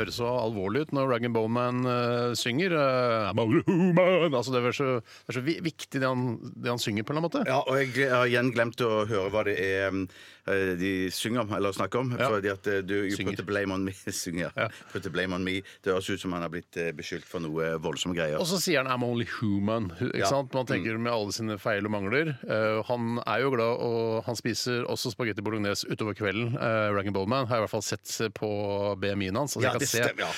Høres så alvorlig ut når Rag Bowman eh, synger. eh, I'm only human. altså, det, er så, det er så vi- viktig det han, det han synger, på en eller annen måte. Ja, og jeg gle- har igjen glemt å høre hva det er um, eh, de synger om, eller snakker om. Ja. Fordi at eh, du you Synger. put the blame on me. synger, ja. Put the blame on me. Det høres ut som han har blitt eh, beskyldt for noe voldsomme greier. Og så sier han 'I'm only human'. hu- Ikke Ja. Mm. sant? Man tenker med alle sine feil og mangler. Eh, han er jo glad, og han spiser også spagetti bolognese utover kvelden. Uh, Rag Bowman har jeg i hvert fall sett på BMI-en hans. Altså Ja, jeg kan det se. stemmer, ja.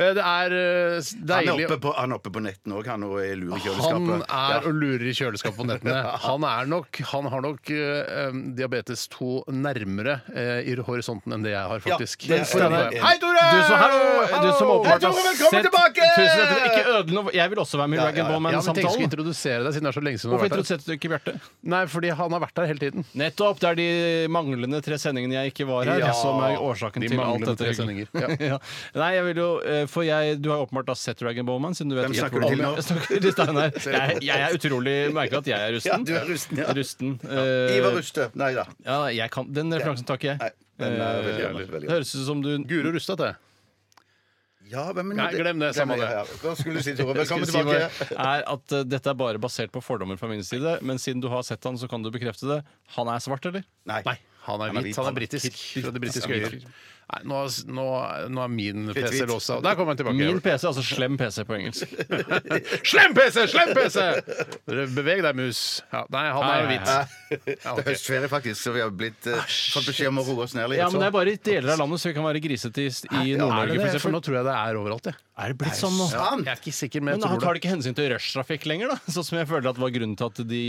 Eh, det er eh, s- Han er deilig oppe på, han er oppe på netten òg, han, og er lur i Han kjøleskapet. er og lurer i kjøleskapet på nettene. Han, er nok, han har nok eh, em, diabetes 2 nærmere eh, i horisonten enn det jeg har, faktisk. det stemmer. Hei, Tore! Du som, hallo, du som Hei, åpenbart har Tore, sett velkommen tilbake! Tusen takk. Ikke ødele noe. Jeg vil også være med i Ja, Rag ja, ja. Ja, men jeg tenkte jeg skulle Bowman-samtalen. introdusere deg, siden det er så lenge siden du har Hvorfor vært her. introduserte du ikke Bjarte? Nei, fordi han har vært der hele tiden. Nettopp! Det er de manglende tre sendingene jeg ikke var her, Ja, som er årsaken de til alt manglende dette. tre hyggelige. sendinger, Ja. Nei, jeg vil jo eh, For jeg, du har jo åpenbart da sett Rag Bowman, siden du vet Hvem gjett snakker hvordan- du til nå? Jeg snakker til Steinar. Jeg, jeg er utrolig Merker at jeg er rusten. Ja, du er rusten, ja. Rusten. Ivar Eh, Ruste. Nei da. ja, jeg kan, den referansen tar ikke Nei, jeg. den er veldig, Eh, veldig, veldig Det høres ut som du Guro Rustad, det. Ja, men, Nei, glem det, samme det. ja, ja. Hva skulle du si, Tore? skulle Velkommen si tilbake. var, er at eh, dette er bare basert på fordommer fra min side. Men siden du har sett han, så kan du bekrefte det. Han er svart, eller? Nei. Nei. Han er hvit. hvit. Han er britisk. Fra de britiske øyer. Nei, nå, nå, nå er min PC hvit. låst av. Der kommer han tilbake. Min PC, altså slem PC på engelsk. Slem PC! Slem PC! Dere Beveg deg, mus. Ja, nei, han er jo Nei, hvit. nei, Ja, Det er ok. Ah, høstferie, faktisk, så vi har blitt, eh, fått beskjed om å roe oss ned litt. Ja, men Det så. er bare i deler av landet så vi kan være grisete i, i Er Nord-Norge, det det? for For nå eksempel. tror jeg det er overalt, jeg. Er det blitt sånn nå? Sant! Jeg er ikke sikker, men Men jeg han tror tar det. det ikke hensyn til rushtrafikk lenger, da? Sånn som jeg føler at var grunnen til at de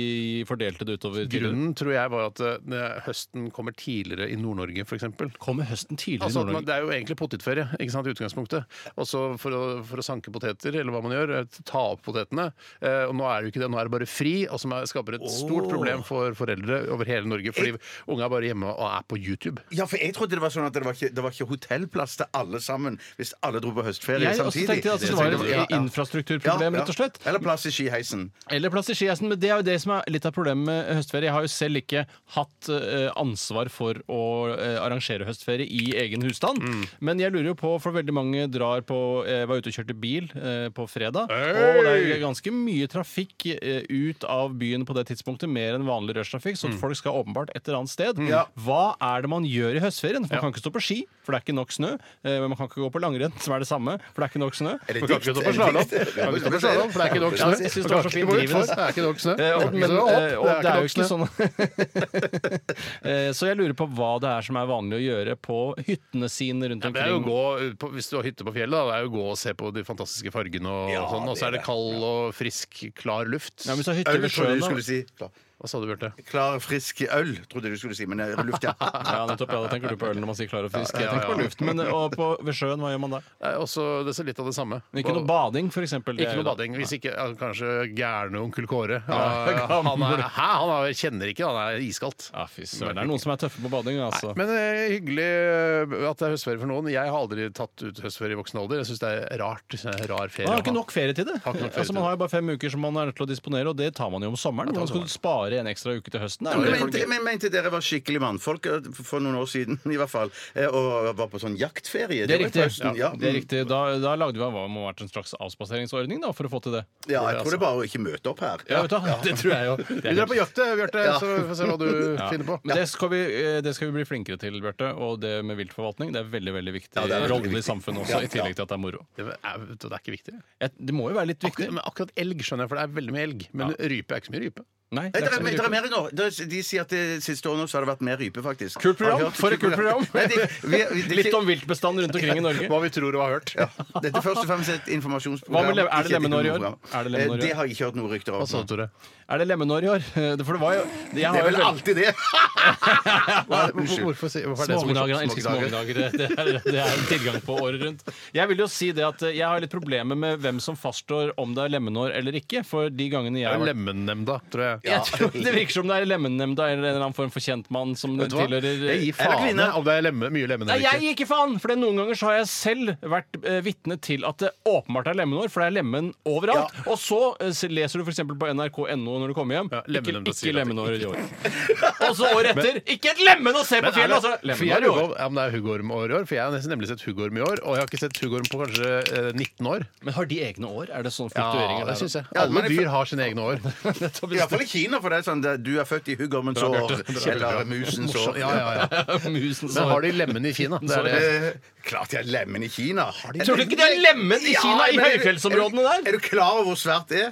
fordelte det utover tidligere. Grunnen tror jeg var at eh, høsten kommer tidligere i Nord-Norge, f.eks. Kommer høsten tidligere Altså, at i man- Nord-Norge? det er jo egentlig potetferie ikke sant, i utgangspunktet. Og så for, å- for å sanke poteter, eller hva man gjør, eh, ta opp potetene. Eh, og nå er det jo ikke det, nå er det bare fri, og som er, skaper et stort problem for foreldre over hele Norge. Fordi unge er bare hjemme og er på YouTube. Ja, for jeg trodde det var sånn at det var ikke, det var ikke hotellplass til alle sammen hvis alle dro på høstferie Jeg også samtidig. tenkte at det var Ja, ja. et infrastrukturproblem, rett og slett. Eller plass i skiheisen. Eller plass i skieisen, men det er jo det som er litt av problemet med høstferie. Jeg har jo selv ikke hatt eh, ansvar for å eh, arrangere høstferie i egen husstand. Men jeg lurer jo på, for veldig mange drar på Jeg var ute og kjørte bil eh, på fredag, og det er ganske mye trafikk eh, ut av byen på det tidspunktet, mer enn vanlig rushtrafikk, så folk skal åpenbart et eller annet sted. Hva er det man gjør i høstferien? For man kan ikke stå på ski, for det er ikke nok snø. Eh, man kan ikke gå på langrenn, som er det samme, for det er ikke nok snø. Er det Man kan ikke stå dikt? Er på det slalåm, dikt? Man kan ikke stå på slalåm, for det er ikke nok Ja, snø. jeg synes Man det var kan så ikke fint gå ut, drivet. for Det er ikke nok snø. Eh, og, Man kan ikke men, stå opp, eh, og det er jo nok snø. ikke sånn Eh, Så jeg lurer på hva det er som er vanlig å gjøre på hyttene sine rundt Ja, men det er jo å omkring. gå, ut på, hvis du har hytte på fjellet, da, det er jo å gå og se på de fantastiske fargene. Og sånn, og så er det kald og frisk, klar luft. Ja, men så er hytter Øl, ved trodde sjøen du skulle da. si. Klar, Hva sa du, Bjarte? klar, frisk øl, trodde du skulle si. Men eh, luft, ja. Ja, nettopp. Ja, da tenker du på øl når man sier klar og frisk. Jeg Ja, ja, tenker på ja. luften. Men eh, og på, ved sjøen, hva gjør man da? Det er Også, det er litt av det samme. Men Ikke noe Og- bading, for eksempel. Det Ikke er jo noe da- bading. Hvis ikke ja, kanskje gærne onkel Kåre. Ja, Ja, han er, hæ, han er, kjenner ikke, han er iskaldt. Ja, fy søren. Det er noen som er tøffe på bading, altså. Men eh, hyggelig eh, at det er høstferie for noen. Jeg har aldri tatt ut høstferie i voksen alder. Jeg syns det er rart. Det er en rar ferie. Man har å ikke ha. nok ferie til det. Har ikke nok ferie altså, man til har jo bare fem uker som man er nødt til å disponere, og det tar man jo om sommeren. Hvordan skal du spare en ekstra uke til høsten? Det er jo Jeg det folk- mente, jeg mente dere var skikkelig mannfolk eh, for noen år siden, i hvert fall. eh, Og var på sånn jaktferie. Det er var riktig. på høsten, Ja, Ja, det er riktig. Da, da lagde vi hva må ha vært en slags avspaseringsordning da, for å få til det. Mm. ja, jeg tror det er bare å ikke møte opp her. Ja, vet du, Det tror jeg jo. Vi drar på jakt, eh, Bjarte, så vi får se hva du Ja. finner på. Men det skal, vi, eh, det skal vi bli flinkere til, Bjarte. Og det med viltforvaltning det er veldig veldig viktig Ja, det er veldig rolle i viktig. samfunnet også, Ja, i tillegg til at det er moro. Det er, det er ikke viktig. Jeg, det må jo være litt viktig. Akkurat, men akkurat elg skjønner jeg, for det er veldig mye elg. Men rype er ikke så mye rype. Nei, Nei, det det er er, ikke så men mye det er viktig. mer nå. Det er- De sier at det siste årene så har det vært mer rype, faktisk. Kult program. Har du hørt? For et kult program. Nei, det, vi, vi, det, Litt om viltbestanden rundt omkring i Norge. Hva vi tror og har hørt. Dette er først og fremst et Hva informasjonsprogram. med le- er det ikke et lemenår i år? program. Er det lemenår i Eh, Det år? Altså, har jeg ikke hørt noe rykter om. Hva sa du, Tore? Er det lemenår i år? Eh, For det var jo jeg Det har er jo vel veldig- alltid det! Hvorfor, hvorfor, sier- hvorfor er det så morsomt? Smågnager. Han elsker smågnager. Det, er- det er en tilgang på året rundt. Jeg vil jo si det at eh, jeg har litt problemer med hvem som fastslår om det er lemenår eller ikke. For de gangene jeg Det har er vært Lemennemnda, tror jeg. Jeg tror Det virker som det er Lemennemnda eller en eller annen form for kjentmann som Vet du hva? tilhører eh, Jeg gir Eller faen kvinne. om det er lemme, mye lemen Nei, eller jeg ikke. gir ikke faen! For det noen ganger så har jeg selv vært eh, vitne til at det åpenbart er lemenår, for det er lemen overalt. Og så eh, s- leser du f.eks. på nrk.no når du kommer hjem. Ja, ikke lemenemnda sier at ikke det lemenår i år. og så året etter ikke et lemen å se på Men er fjellet! det, Altså, for jeg lemenår i lurer år. på om det er huggormår i år, for jeg har nesten nemlig sett huggorm i år. Og jeg har ikke sett huggorm på kanskje eh, 19 år. Men har de egne år? Er det sånn Ja, fluktueringer? det syns jeg. Ja, men Alle jeg- dyr har sine egne år. I hvert fall i Kina, for det er sånn det- du er født i huggormens år, eller musens år. Ja, ja, ja. Musen Men har de lemmen i Kina? Det er det. Eh, Klart de er lemen i Kina. Tror du ikke det er lemen i Kina, i men er du- høyfjellsområdene er du- der? Er du klar over hvor svært det er?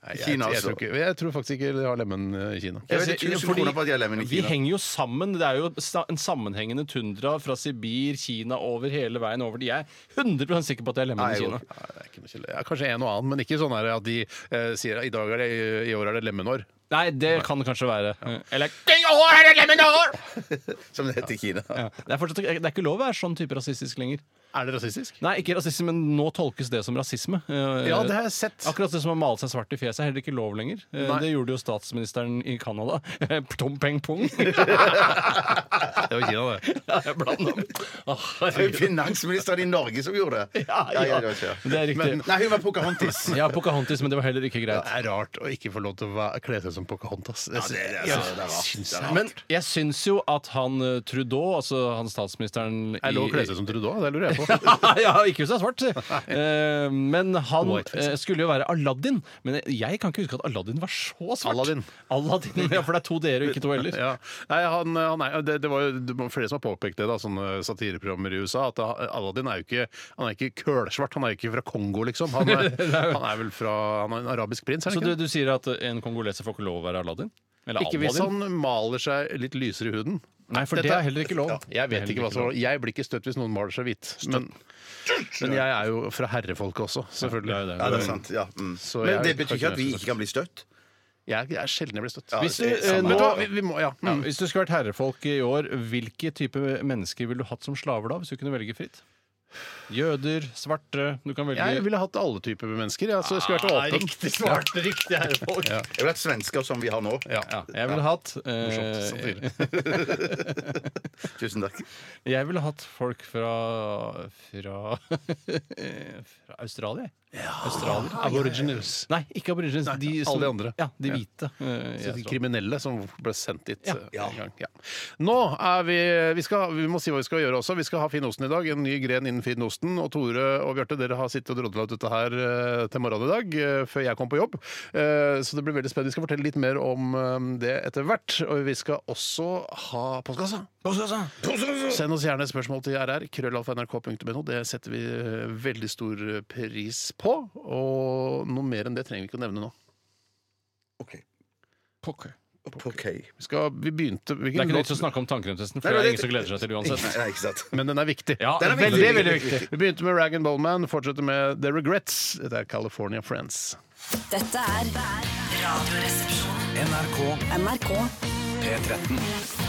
Nei, jeg, Kina, jeg, altså. tror ikke, jeg tror faktisk ikke de har lemmen eh, i Kina. Jeg vet ikke, tusen kroner på at de er lemen i Vi Kina. henger jo sammen. Det er jo sa- en sammenhengende tundra fra Sibir, Kina, over hele veien over. Jeg er 100 sikker på at det er lemen Nei, i jo. Kina. Nei, det er ikke noe kjele. Ja, kanskje en og annen, men ikke sånn her at de eh, sier at i, dag er det, i år er det lemenår. Nei, det kan det kanskje være. Eller Som det heter i Kina. ja. det, er fortsatt, det er ikke lov å være sånn type rasistisk lenger. Er det rasistisk? Nei, ikke rasisme, men nå tolkes det som rasisme. Eh, Ja, det har jeg sett. Akkurat det som å male seg svart i fjeset er heller ikke lov lenger. Eh, Nei. Det gjorde jo statsministeren i Canada. Tom Peng Pong. Det var Kina, det. Jeg blander om. Åh, Det er jo herregud. Finansministeren i Norge som gjorde det. Ja, Ja, ja, ja. det var ikke- Det er riktig. Nei, hun var Pocahontas. Ja, Pocahontas, men det var heller ikke greit. Det er rart å ikke få lov til å væ- kle seg som Pocahontas. Jeg syns- det er- jeg det er rart. syns Det det. er rart. Men jeg syns jo at han eh, Trudeau, altså han statsministeren i Er det lov å kle seg sånn? som Trudeau? Det lurer jeg på. ja, ikke hvis det er svart. si. Eh, men han Whiteface. eh, skulle jo være Aladdin. Men jeg kan ikke huske at Aladdin var så svart. Aladdin. Aladdin, ja, For det er to dere og ikke to eller. Ja. Nei, han, han er, det, det var jo det var flere som har påpekt det, da, sånne satireprogrammer i USA. At Aladdin er jo ikke Han er ikke kølsvart. Han er jo ikke fra Kongo, liksom. Han er, han er vel fra Han er en arabisk prins, er Så han du, ikke? det? du sier at en kongoleser får ikke lov å være Aladdin? Eller Ikke hvis han maler seg litt lysere i huden. Nei, for det Dette- er heller ikke lov. Ja, jeg vet Det er ikke hva heller som Jeg blir ikke støtt hvis noen maler seg hvit. Men, men jeg er jo fra herrefolket også, selvfølgelig. Ja, det er jo det. Ja, det er sant. Ja. Mm. Så Men jeg- det betyr ikke at vi ikke kan bli støtt. Jeg, jeg er sjelden jeg blir støtt. Ja, Hvis du, det er sant. eh, Vet nå- du hva, vi, vi må, ja. Ja, Mm. hvis du skulle vært herrefolk i år, hvilke type mennesker ville du hatt som slaver da? Hvis du kunne velge fritt? Jøder, svarte Du kan velge Jeg ville hatt alle typer mennesker. Ja, så jeg skulle vært Ah, åpen. Riktig svart, riktig herrefolk. Ja. Jeg vil at svensker som vi har nå. Ja. Jeg ville hatt eh, Morsomt, sånn Tusen takk. Jeg ville hatt folk fra fra, fra Australia. Australier. Aboriginals. Nei, ikke aborigines. De, alle som- de andre. Ja, de Ja. hvite. Så eh, i de Australia. kriminelle som ble sendt dit Ja. eh, en gang. Ja. Nå er vi vi, skal, vi må si hva vi skal gjøre også. Vi skal ha Finn Osten i dag. En ny gren innen Finn Osten. Og Tore og Bjarte, dere har sittet og drodla ut dette her eh, til morgenen i dag, eh, før jeg kom på jobb. Eh, Så det blir veldig spennende. Vi skal fortelle litt mer om eh, det etter hvert. Og vi skal også ha postkassa. Send oss gjerne spørsmål til rr. krøllalfa.nrk.no. Det setter vi eh, veldig stor pris på. Og noe mer enn det trenger vi ikke å nevne nå. Ok. Pokker. Ok. Vi, skal, vi begynte Det er hvilken ikke noe låt- vits å snakke om tannkremtesten, for Nei, det er det- ingen som gleder seg til det uansett. Nei, ikke sant. Men den er viktig. Ja, Den er veldig, veldig, veldig veldig viktig. Vi begynte med Rag and Bowman, fortsetter med The Regrets. Det er California Friends. Dette er Radioresepsjonen. NRK NRK P13.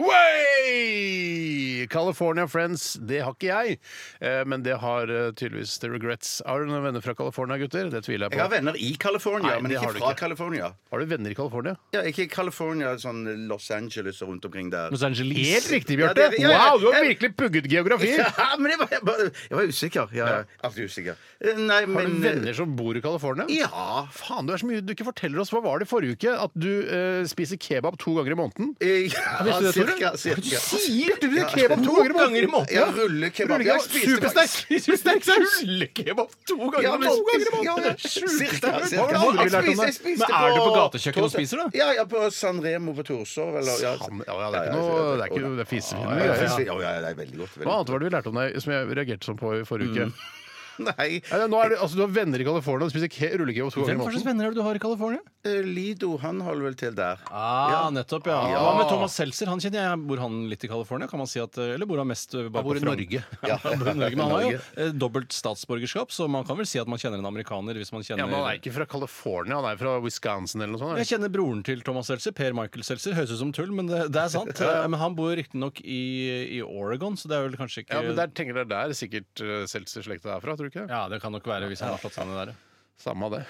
Way! California Friends, det har ikke jeg. Eh, Men det har eh, tydeligvis The Regrets. Har du noen venner fra California, gutter? Det tviler Jeg har jeg på. venner i California, Nei, men det har ikke du fra ikke. California. Har du venner i California? Ja, ikke i California, sånn Los Angeles og rundt omkring der. Los Angeles. Helt riktig, Bjarte! Ja, det- ja, ja. Wow, du har virkelig pugget geografi! Ja, men jeg var, jeg, bare, jeg var usikker. Ja, ja. Alltid usikker. Eh, Nei, Har men eh, du venner som bor i California? Ja. Faen, du er så mye du ikke forteller oss. Hva var det i forrige uke? At du eh, spiser kebab to ganger i måneden? Eh, Ja, Visste du det, Tore? cirka, cirka. Sier du det? Kebab to ganger i måneden? Ja, rullekebab. Rullekebab. Jeg spiste Supersterk. faktisk- Supersterk saus. Rullekebab to ganger Ja, men- i måneden? ja, ja. Cirka, Hva cirka. var det andre vi Jeg lærte om spiste- det? jeg spiste Men er du på gatekjøkkenet og Torshov. spiser, da? Ja, ja, på San Remo på Torshov. Eller, ja. Sam- ja, ja, det er ikke noe Det er ikke det er fisefine Ja, greier. fisk- ja, ja, det er veldig godt. Hva Veldig. godt. annet var det vi lærte om deg som jeg reagerte sånn på i forrige uke? Nei, Nei, nå er det, altså, du har venner i California og spiser ke- rullekebab to ganger i Hvem hva slags måneden. venner er det du har i California? eh, Lido, han holder vel til der. Ah, Ja. nettopp, ja. Ja. Hva med Thomas Seltzer? Han kjenner jeg. Bor han litt i California? Kan man si at, eller bor han mest eh, bare Han bor i på Frogn? Norge. Ja, han bor i Norge, Men han har jo Norge. eh, dobbelt statsborgerskap, så man kan vel si at man kjenner en amerikaner hvis man kjenner Ja, men Han er ikke fra California, han er fra Wisconsin eller noe sånt. er det jeg ikke? kjenner broren til Thomas Seltzer, Per Michael Seltzer. Høres ut som tull, men det, det er sant. Eh, Men han bor riktignok i, i Oregon, så det er vel kanskje ikke Ja, men der tenker dere der sikkert uh, eh, Seltzer-slekta er fra, tror du ikke? Ja, det kan nok være hvis han har slått seg ned der. ja. Samme av det.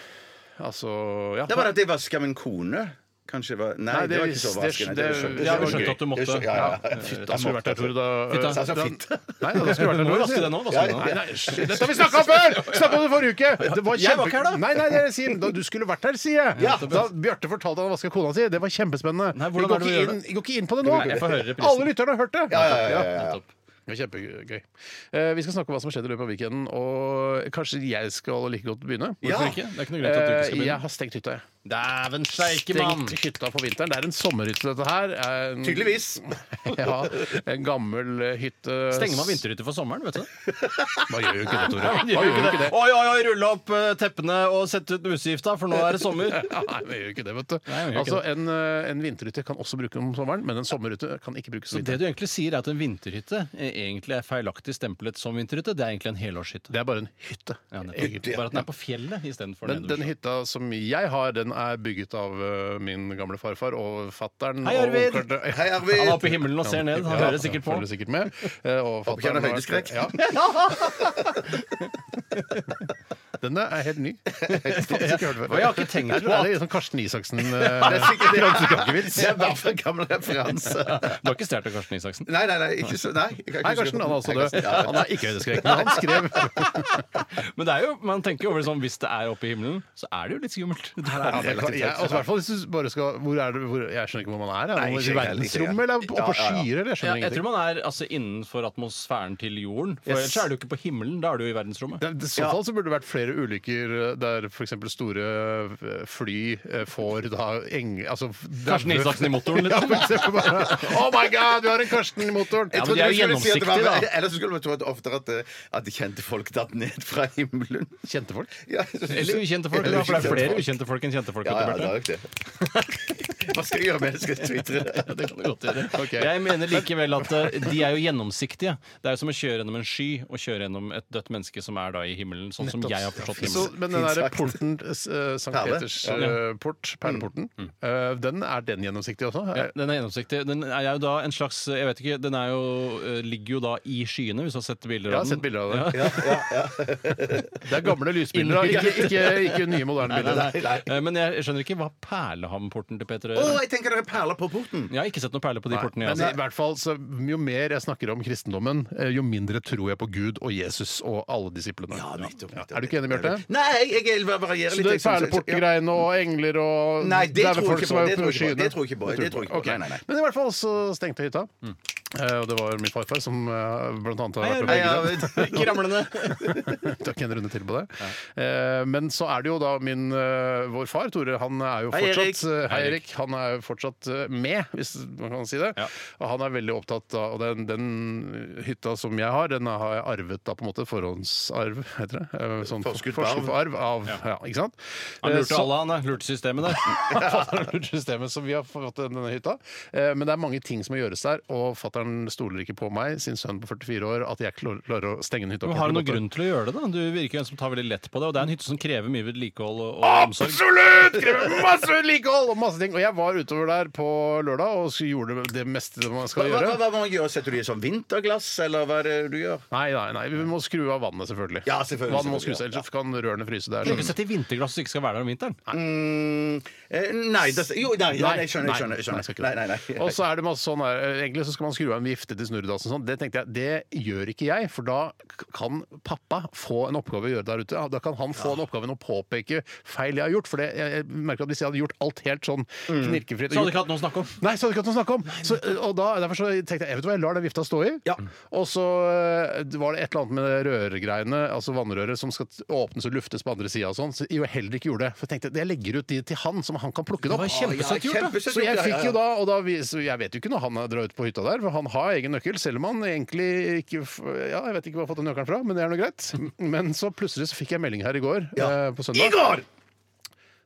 Altså, ja. Det var at jeg vaska min kone. Kanskje det var Nei, Nei, det, det var ikke visste- såpevasken. det- det- Jeg det har var skjønt at du måtte. Ja, ja, ja. Fytta, jeg skulle vært der, Tore, da Fitta. eh, Altså, da- fitta. Nei, da skulle jeg vært Du der må nå. vaske sier jeg. den nå, vaske den nå. Nei, nei, sh- dette har vi snakka om før! Snakka om det forrige uke! Det var Jeg var ikke her da. Nei, nei, jeg sier, da, du skulle vært her, sier jeg. Da Bjarte fortalte at han vaska kona si. Det var kjempespennende. Nei, vi, hvordan går er det vi ikke gjør inn, vi går ikke inn på det nå. Nei, jeg får høre reprisen. Alle lytterne har hørt det. Nettopp. Det var kjempegøy. Eh, vi skal snakke om hva som har skjedd i løpet av weekenden. Og kanskje jeg skal like godt begynne? Hvorfor ikke? Det er ikke noe greit at du ikke skal Eh, Jeg begynne. har stengt hytta, jeg. Dæven steike, mann! Stengt hytta for vinteren. Det er en sommerhytte, dette her. Eh, En, Tydeligvis. ja, en gammel eh, hytte Stenger man vinterhytter for sommeren, vet du? Man gjør jo ikke det, Tore. Gjør ikke det. Oi, oi, oi, rulle opp eh, teppene og sette ut musegifta, for nå er det sommer. Nei, vi gjør jo ikke det, vet du. Nei, vi gjør ikke altså, en, eh, en vinterhytte kan også brukes om sommeren, men en sommerhytte kan ikke brukes om Det vinteren. du egentlig sier, er at en vinterhytte eh, egentlig er feilaktig stemplet som vinterhytte. Det er egentlig en helårshytte. Det er bare en hytte. Ja, nettopp. egentlig. Bare at den er på fjellet istedenfor Men nede den ved sjøen. hytta som jeg har, den er bygget av eh, min gamle farfar og fattern. Hei, Arvid! Hei, Arvid. Han er oppe i himmelen og ser ned. Han hører sikkert på. Følger sikkert med. Eh, Og Håper ikke han fatteren har har- høydeskrekk. Ja. Denne er helt ny. Jeg har ikke hørt før. Og jeg har ikke tenkt Eller på er at- det sånn Karsten Isaksen Det eh, er sikkert Det er i hvert fall en gammel referanse. Du har ikke stjålet av Karsten Isaksen? Nei, nei, nei. Ikke så, nei, jeg kan ikke Hei, huske- Karsten. Han er også Hei, død. Karsten, ja. Han er ikke høydeskrekk, men han skrev Men det er jo, man tenker jo over det sånn, hvis det er oppe i himmelen, så er det jo litt skummelt. Ja, det kan- jeg- altså, i hvert fall hvis du bare skal Hvor er det hvor, Jeg skjønner ikke hvor man er. Nei, Ja. I ikke jeg heller, verdensrommet, ikke eller jeg. oppå Ja, ja, skyer, ja. eller jeg Ja, skjønner jeg tror ingenting. man er altså, innenfor atmosfæren til jorden. For Yes. ellers er du ikke på himmelen, da er du i verdensrommet. Det- I så fall så burde det vært flere ulykker eh, der f.eks. store eh, fly eh, får da eng... Altså Karsten Isaksen i motoren, Ja, liksom. for eksempel bare Oh my god, vi har en Karsten i motoren! Ja, Jeg trodde de er du skulle jo si at det var- gjennomsiktige, da. Ellers skulle man tro at oftere at, eh, at de kjente folk datt ned fra himmelen. Kjente folk. Ja, jeg synes- Eller ukjente folk. Eller da, For det ukjente er flere folk. ukjente folk enn kjente folk. Ja, ja, Bjarte. det er nok det. Hva skal jeg gjøre med det? Skal jeg twitre det? Ja, det kan du godt gjøre. Ok. Jeg mener likevel at eh, de er jo gjennomsiktige. Det er jo som å kjøre gjennom en sky og kjøre gjennom et dødt menneske som er da i himmelen, sånn som jeg har forstått Så, himmelen. men den Fint der sagt. porten, eh, Sankt Perle. Peters eh, port, perleporten, eh, den er den gjennomsiktig også? Mm, Eh, Ja, den er gjennomsiktig. Den er jo da en slags Jeg vet ikke, den er jo, eh, ligger jo da i skyene, hvis du har sett bilder Jeg av har den. sett bilder av det. Ja. Det er gamle lysbilder, da, ikke, ikke, ikke nye, moderne Nei, bilder. nei, nei. Eh, Men jeg skjønner ikke hva Perlehamporten til Peter Å, gjør. jeg tenker dere perler på porten! Jeg har ikke sett noen perler på de portene. Men eh, Jeg, i altså. hvert fall, så Jo mer jeg snakker om kristendommen, eh, jo mindre tror jeg på Gud og Jesus og alle disiplene. Ja. Er du ikke enig, Bjarte? Nei, jeg, jeg varierer Så litt. det jeg er synes- Perleportgreiene og engler og Nei, det dæve tror jeg folk ikke som på, er oppe det tror jeg ikke på, skyene. det tror jeg ikke på, Det det tror jeg ikke på. Ok. Nei, nei, nei. Men i hvert fall så stengte hytta. Eh, Og det var min farfar som eh, blant annet har vært med Nei, i ja, den. men- Ikke ramlende. Takk en runde til på det. Eh, Men så er det jo da min eh, vår far, Tore, han er jo Hei, Erik. fortsatt eh, Hei, Erik. Han er jo fortsatt eh, med, hvis man kan si det. Ja. Og han er veldig opptatt av og den, den hytta som jeg har, den har jeg arvet da på en måte forhåndsarv, heter det. Eh, Sånn Forskudd på forskudd på arv av, ja. ikke sant? Han Eh, lurte så- alle, han. eh. Lurte systemet der. systemet som vi har fått i denne hytta. Eh, Men det er mange ting som må gjøres der, og fattern stoler ikke på meg, sin sønn på 44 år, at jeg klarer klarer å stenge en hytte. Men har du noen grunn til å gjøre det? da? Du virker jo en som tar veldig lett på det. Og det er en hytte som krever mye vedlikehold og, og omsorg. Absolutt! Krever masse vedlikehold og masse ting. Og jeg var utover der på lørdag og så gjorde det meste man Hva, skal hva, hva, gjøre. hva må man gjøre? Setter du i sånn vinterglass, eller hva er det du gjør? Nei, nei, nei, vi må skru av vannet, selvfølgelig. Ja, selvfølgelig, Vannet må selvfølgelig, skru seg, Ellers kan rørene fryse. Det Du er kan ikke sånn. sette i vinterglass hvis du ikke skal være der om vinteren. Mm, eh, nei, det, jo, nei, nei, jeg skjønner. Jeg skjønner, jeg nei, jeg skal skjønner. ikke Nei, nei, det. nei. Og så er det masse sånn her eh, Egentlig så skal man skru av en vifte til snurredassen og sånn. Det tenkte jeg, det gjør ikke jeg, for da k- kan pappa få en oppgave å gjøre der ute. Ja, Da kan han få en oppgave med å påpeke feil jeg har gjort. For det, jeg, jeg merker at hvis jeg hadde gjort alt helt sånn Mm. knirkefritt Så hadde du ikke hatt noe å snakke om. Nei, så hadde vi ikke hatt noe å snakke om. Så, og da, derfor så tenkte jeg jeg vet du hva, jeg lar den vifta stå i. Ja. Og så eh, var det et eller annet med det rørgreiene, altså vannrøret, som skal t- åpnes og luftes på andre sida og sånn. Så jo, jeg heller ikke gjorde det. For jeg tenkte jeg legger ut de til han, som han kan plukke det Det opp. Ah, var kjempesøtt Ja, gjort, da. kjempesøtt Så jeg gjort, ja, fikk ja, jo ja. da, og da vi, så jeg vet jo ikke når han drar ut på hytta der, for han har egen nøkkel, selv om han egentlig ikke f- Ja, jeg vet ikke hvor han har fått den nøkkelen fra, men det er nå greit. Men så plutselig så fikk jeg melding her i går, eh, på søndag. Igor!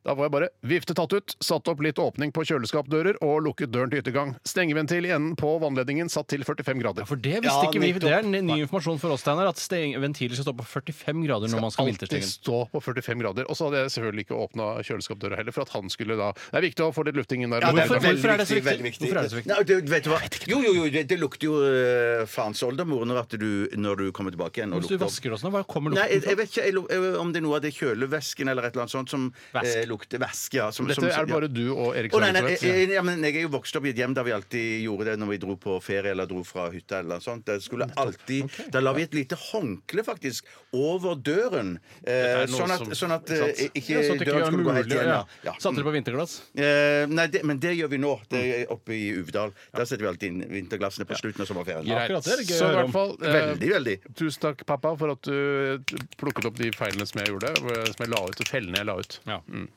Da var jeg bare viftet tatt ut, satte opp litt åpning på kjøleskapdører og lukket døren til yttergang. Stengeventil i enden på vannledningen satt til 45 grader. For det visste Ja, ikke vi. nettopp. Det er ny ny informasjon for oss, Steinar, at steng- ventiler skal stå på 45 grader når man skal alltid vinterstenge. stå på 45 grader. Og så hadde jeg selvfølgelig ikke åpna kjøleskapdøra heller, for at han skulle da Det er viktig å få litt lufting inn der. det er Hvorfor, veldig hvorfor er det så viktig, veldig viktig? viktig. Hvorfor er det så viktig? Nei, det, vet du hva? Jo, jo, jo, det, det lukter jo uh, faens oldemor når, at du- når du kommer tilbake igjen. og Hvis du lukter opp. vasker og sånn, hva kommer Nei, jeg, lukten jeg vet ikke jeg, lu- jeg, om det er noe av det kjølevæsken eller et eller annet sånt som Væsk. eh, lukter væske. Ja, som, Dette som, er det bare ja. du og Erik Å, nei, nei, Sørensen jeg, vet. jeg- ja, men jeg er jo vokst opp i et hjem der vi alltid gjorde det når vi dro på ferie eller dro fra hytta. eller noe sånt. Der skulle alltid, Da la vi et lite håndkle, faktisk, over døren. Eh, Dette er noe sånn at, som- sånn at eh, sant. ikke Ja, sånn at det ikke døren er skulle gå helt mulig. igjen. Ja. Ja. Ja. Satte dere på vinterglass? Eh, nei, det, men det gjør vi nå. Det Mm. er oppe i Uvdal. Der setter vi alltid inn vinterglassene på slutten av sommerferien. Greit. Akkurat det er det gøy å Så i høre om. hvert fall eh, Veldig, veldig. Tusen takk, pappa, for at du t- plukket opp de feilene som jeg gjorde. eh, Som jeg la ut, og fellene jeg la ut. Ja. Mm.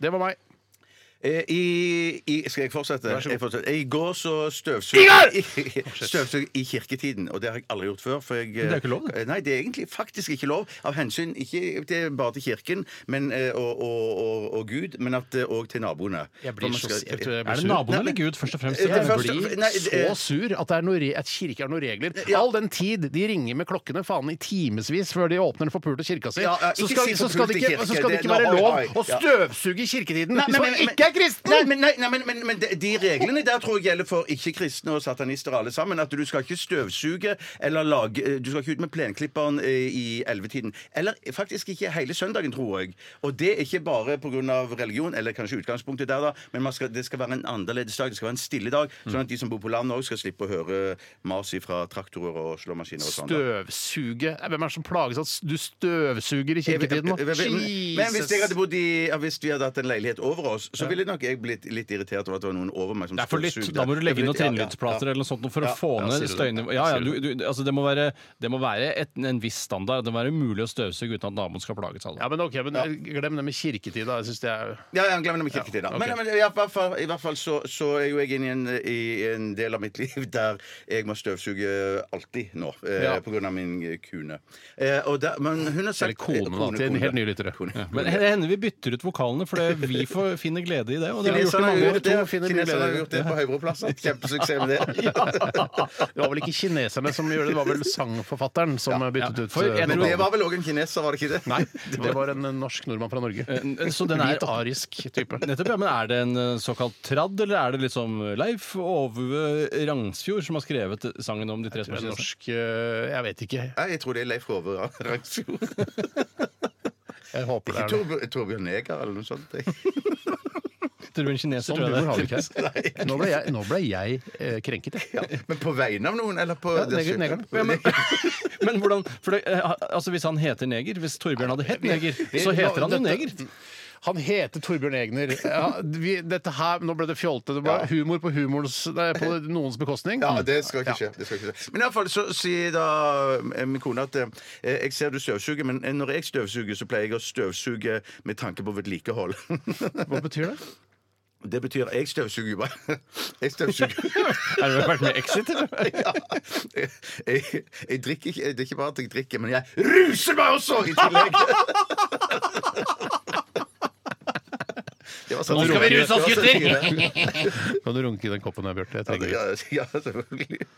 Det var meg. Eh, I, i, skal jeg fortsette? Vær så god. Jeg fortsetter. I går så støvsug I støvsug i kirketiden. Og det har jeg aldri gjort før. For jeg, eh, det er ikke lov, det. Nei, det er egentlig faktisk ikke lov. Av hensyn ikke til, bare til kirken men, eh, og, og, og, og Gud, men at òg til naboene. For man skal- jeg blir Er det sur. naboen Nei, eller men- Gud, først og fremst? Eh, det Jeg første- blir- Nei, så eh, sur at, det er noe, re- at kirke er noen regler. Ja. All den tid de ringer med klokkene faen i timevis før de åpner den forpulte kirka si, Ja, ja, så, ikke skal, si så, skal det forpulte ikke, kirke, så skal det det- ikke være nå- oi, lov oi, å ja. støvsuge i kirketiden Nei, hvis men- man men- ikke er kristen! Nei, men, nei, nei, men, men, men de, de reglene der tror jeg gjelder for ikke-kristne og satanister alle sammen. At du skal ikke støvsuge eller lage eh, Du skal ikke ut med plenklipperen eh, i ellevetiden. Eller faktisk ikke hele søndagen, tror jeg. Og det er ikke bare pga. religion, eller kanskje utgangspunktet der, da, men man skal, det skal være en annerledes dag. Det skal være en stille dag, sånn at de som bor på landet òg skal slippe å høre mas fra traktorer og slåmaskiner og sånn. da. Støvsuge Nei, Hvem er det som plages av at du støvsuger i kirketiden? da? Men hvis jeg hadde bodd i ja, Hvis vi hadde hatt en leilighet over oss, så ville nok jeg blitt litt irritert over at det var noen over meg som Det er for litt. støvsugde. Da må du legge inn noen Ja, ja, ja. trinnlydsplater eller noe sånt noe for Ja, å få ja, ned sier du det. støyene. Ja, ja, Sier du du, du, altså det må være, det må være et, en viss standard. Det må være umulig å støvsuge uten at naboen skal plages av det. Ja, men ok, men eh, Glem det med kirketid, da. Jeg synes det er Ja, ja, glem det med kirketid, da. Ja, ok. Men, men i, hvert fall, i hvert fall så, så er jo jeg inne i en, i en del av mitt liv der jeg må støvsuge alltid nå, eh, Ja. på grunn av min kune. Eh, og der, men hun har sagt eh, Eller kone, da, til en helt ny lyttere. Ja. Men det hender vi bytter ut vokalene, for det, vi får, finner glede i det. Og det har vi gjort i Kineserne har mange år. gjort det, To finner kineserne har muligheter. gjort det på Høybroplasser. Kjempesuksess med det. Det var vel ikke kineserne som gjorde det, det var vel sangforfatteren som byttet ja. ut For jeg eh, Men tror- det var vel òg en kineser, var det ikke det? Nei, det var en eh, norsk nordmann fra Norge. Eh, Så den er Hvit arisk type. Nettopp, ja, men Er det en eh, såkalt tradd, eller er det liksom Leif Ovve Rangsfjord som har skrevet sangen om de tre Men spørsmålene? norsk eh, Jeg vet ikke. Nei, jeg tror det er Leif Rove Ra- Rangsfjord. Jeg håper det Ikke er det. Torbjørn- Torbjørn Neger eller noe sånt. jeg. Tror du en kineser, Sånn tror humor har vi jeg det. ikke her. Nå ble jeg, nå ble jeg eh, krenket, jeg. Men på vegne av noen, eller på Ja, Neger- Negeren. Ja, men, men hvordan for det, eh, altså Hvis han heter Neger, hvis Torbjørn hadde hett Neger, så heter han jo Dette- Neger. Han heter Torbjørn Egner. Ja, vi, dette her, nå ble det fjolte. Det ble humor på, humorens, nei, på noens bekostning. Ja, det skal ikke skje. Det skal ikke skje. Men iallfall så sier da eh, min kone at eh, jeg ser du støvsuger, men eh, når jeg støvsuger, så pleier jeg å støvsuge med tanke på vedlikehold. Hva betyr det? Det betyr jeg støvsuger jo bare. Jeg støvsuger. Har du vært med i Exit, eller? Ja. Jeg, jeg, jeg drikker ikke Det er ikke bare at jeg drikker, men jeg ruser meg også i tillegg! Det var sånn- Nå skal vi ruse oss, gutter! Kan du runke i den koppen her, Bjarte? Jeg trenger det. Ja, ja, selvfølgelig.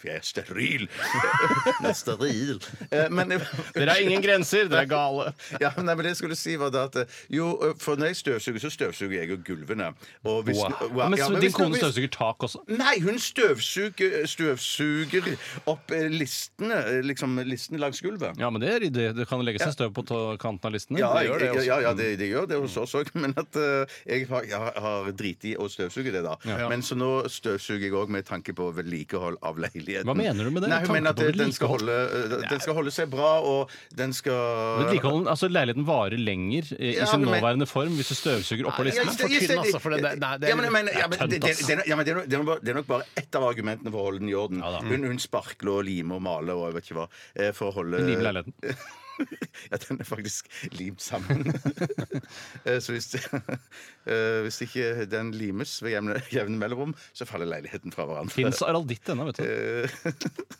For jeg er steril. Jeg er steril. Eh, Men Dere har ingen grenser, dere er gale. Ja, men nei, men det jeg skulle si var da at eh, Jo, eh, for når jeg støvsuger, så støvsuger jeg jo gulvene. Og hvis, Ja, men ja, så men Din hvis- kone hvis- støvsuger tak også? Nei, hun støvsuger, støvsuger opp eh, listene, eh, liksom listene langs gulvet. Ja, men det, er, det, det kan legge seg støv på to- kanten av listene. Ja, Det gjør det jeg- også. Mm. ja, ja det, det gjør det hos oss òg. Men at eh, jeg har, jeg har- har driti i å støvsuge det, da. Men så nå støvsuger jeg òg med tanke på vedlikehold av leiligheten. Hva mener du med det? Nei, hun Tanke mener at på eh, den skal, vedlikehold? holde, eh, den skal holde seg bra, og den skal Vedlikeholden, altså Leiligheten varer lenger eh, i Ja, sin men- nåværende form hvis du støvsuger oppå Nei, listene. for tynn, altså, for det der- nei, det er- Ja, men jeg mener- ja, men det er det- tønt, ass. det- det- ja, men det er nok- det er nok bare- det er nok bare ett av argumentene for å holde den i orden. Ja da. hun, hun sparkler og limer og maler og jeg vet ikke hva. eh, For å holde Hun limer leiligheten. ja, den er faktisk limt sammen. Eh, Så hvis, eh, hvis ikke den limes ved jevne, jevne mellomrom, så faller leiligheten fra hverandre. Fins aralditt ennå, vet du. Eh,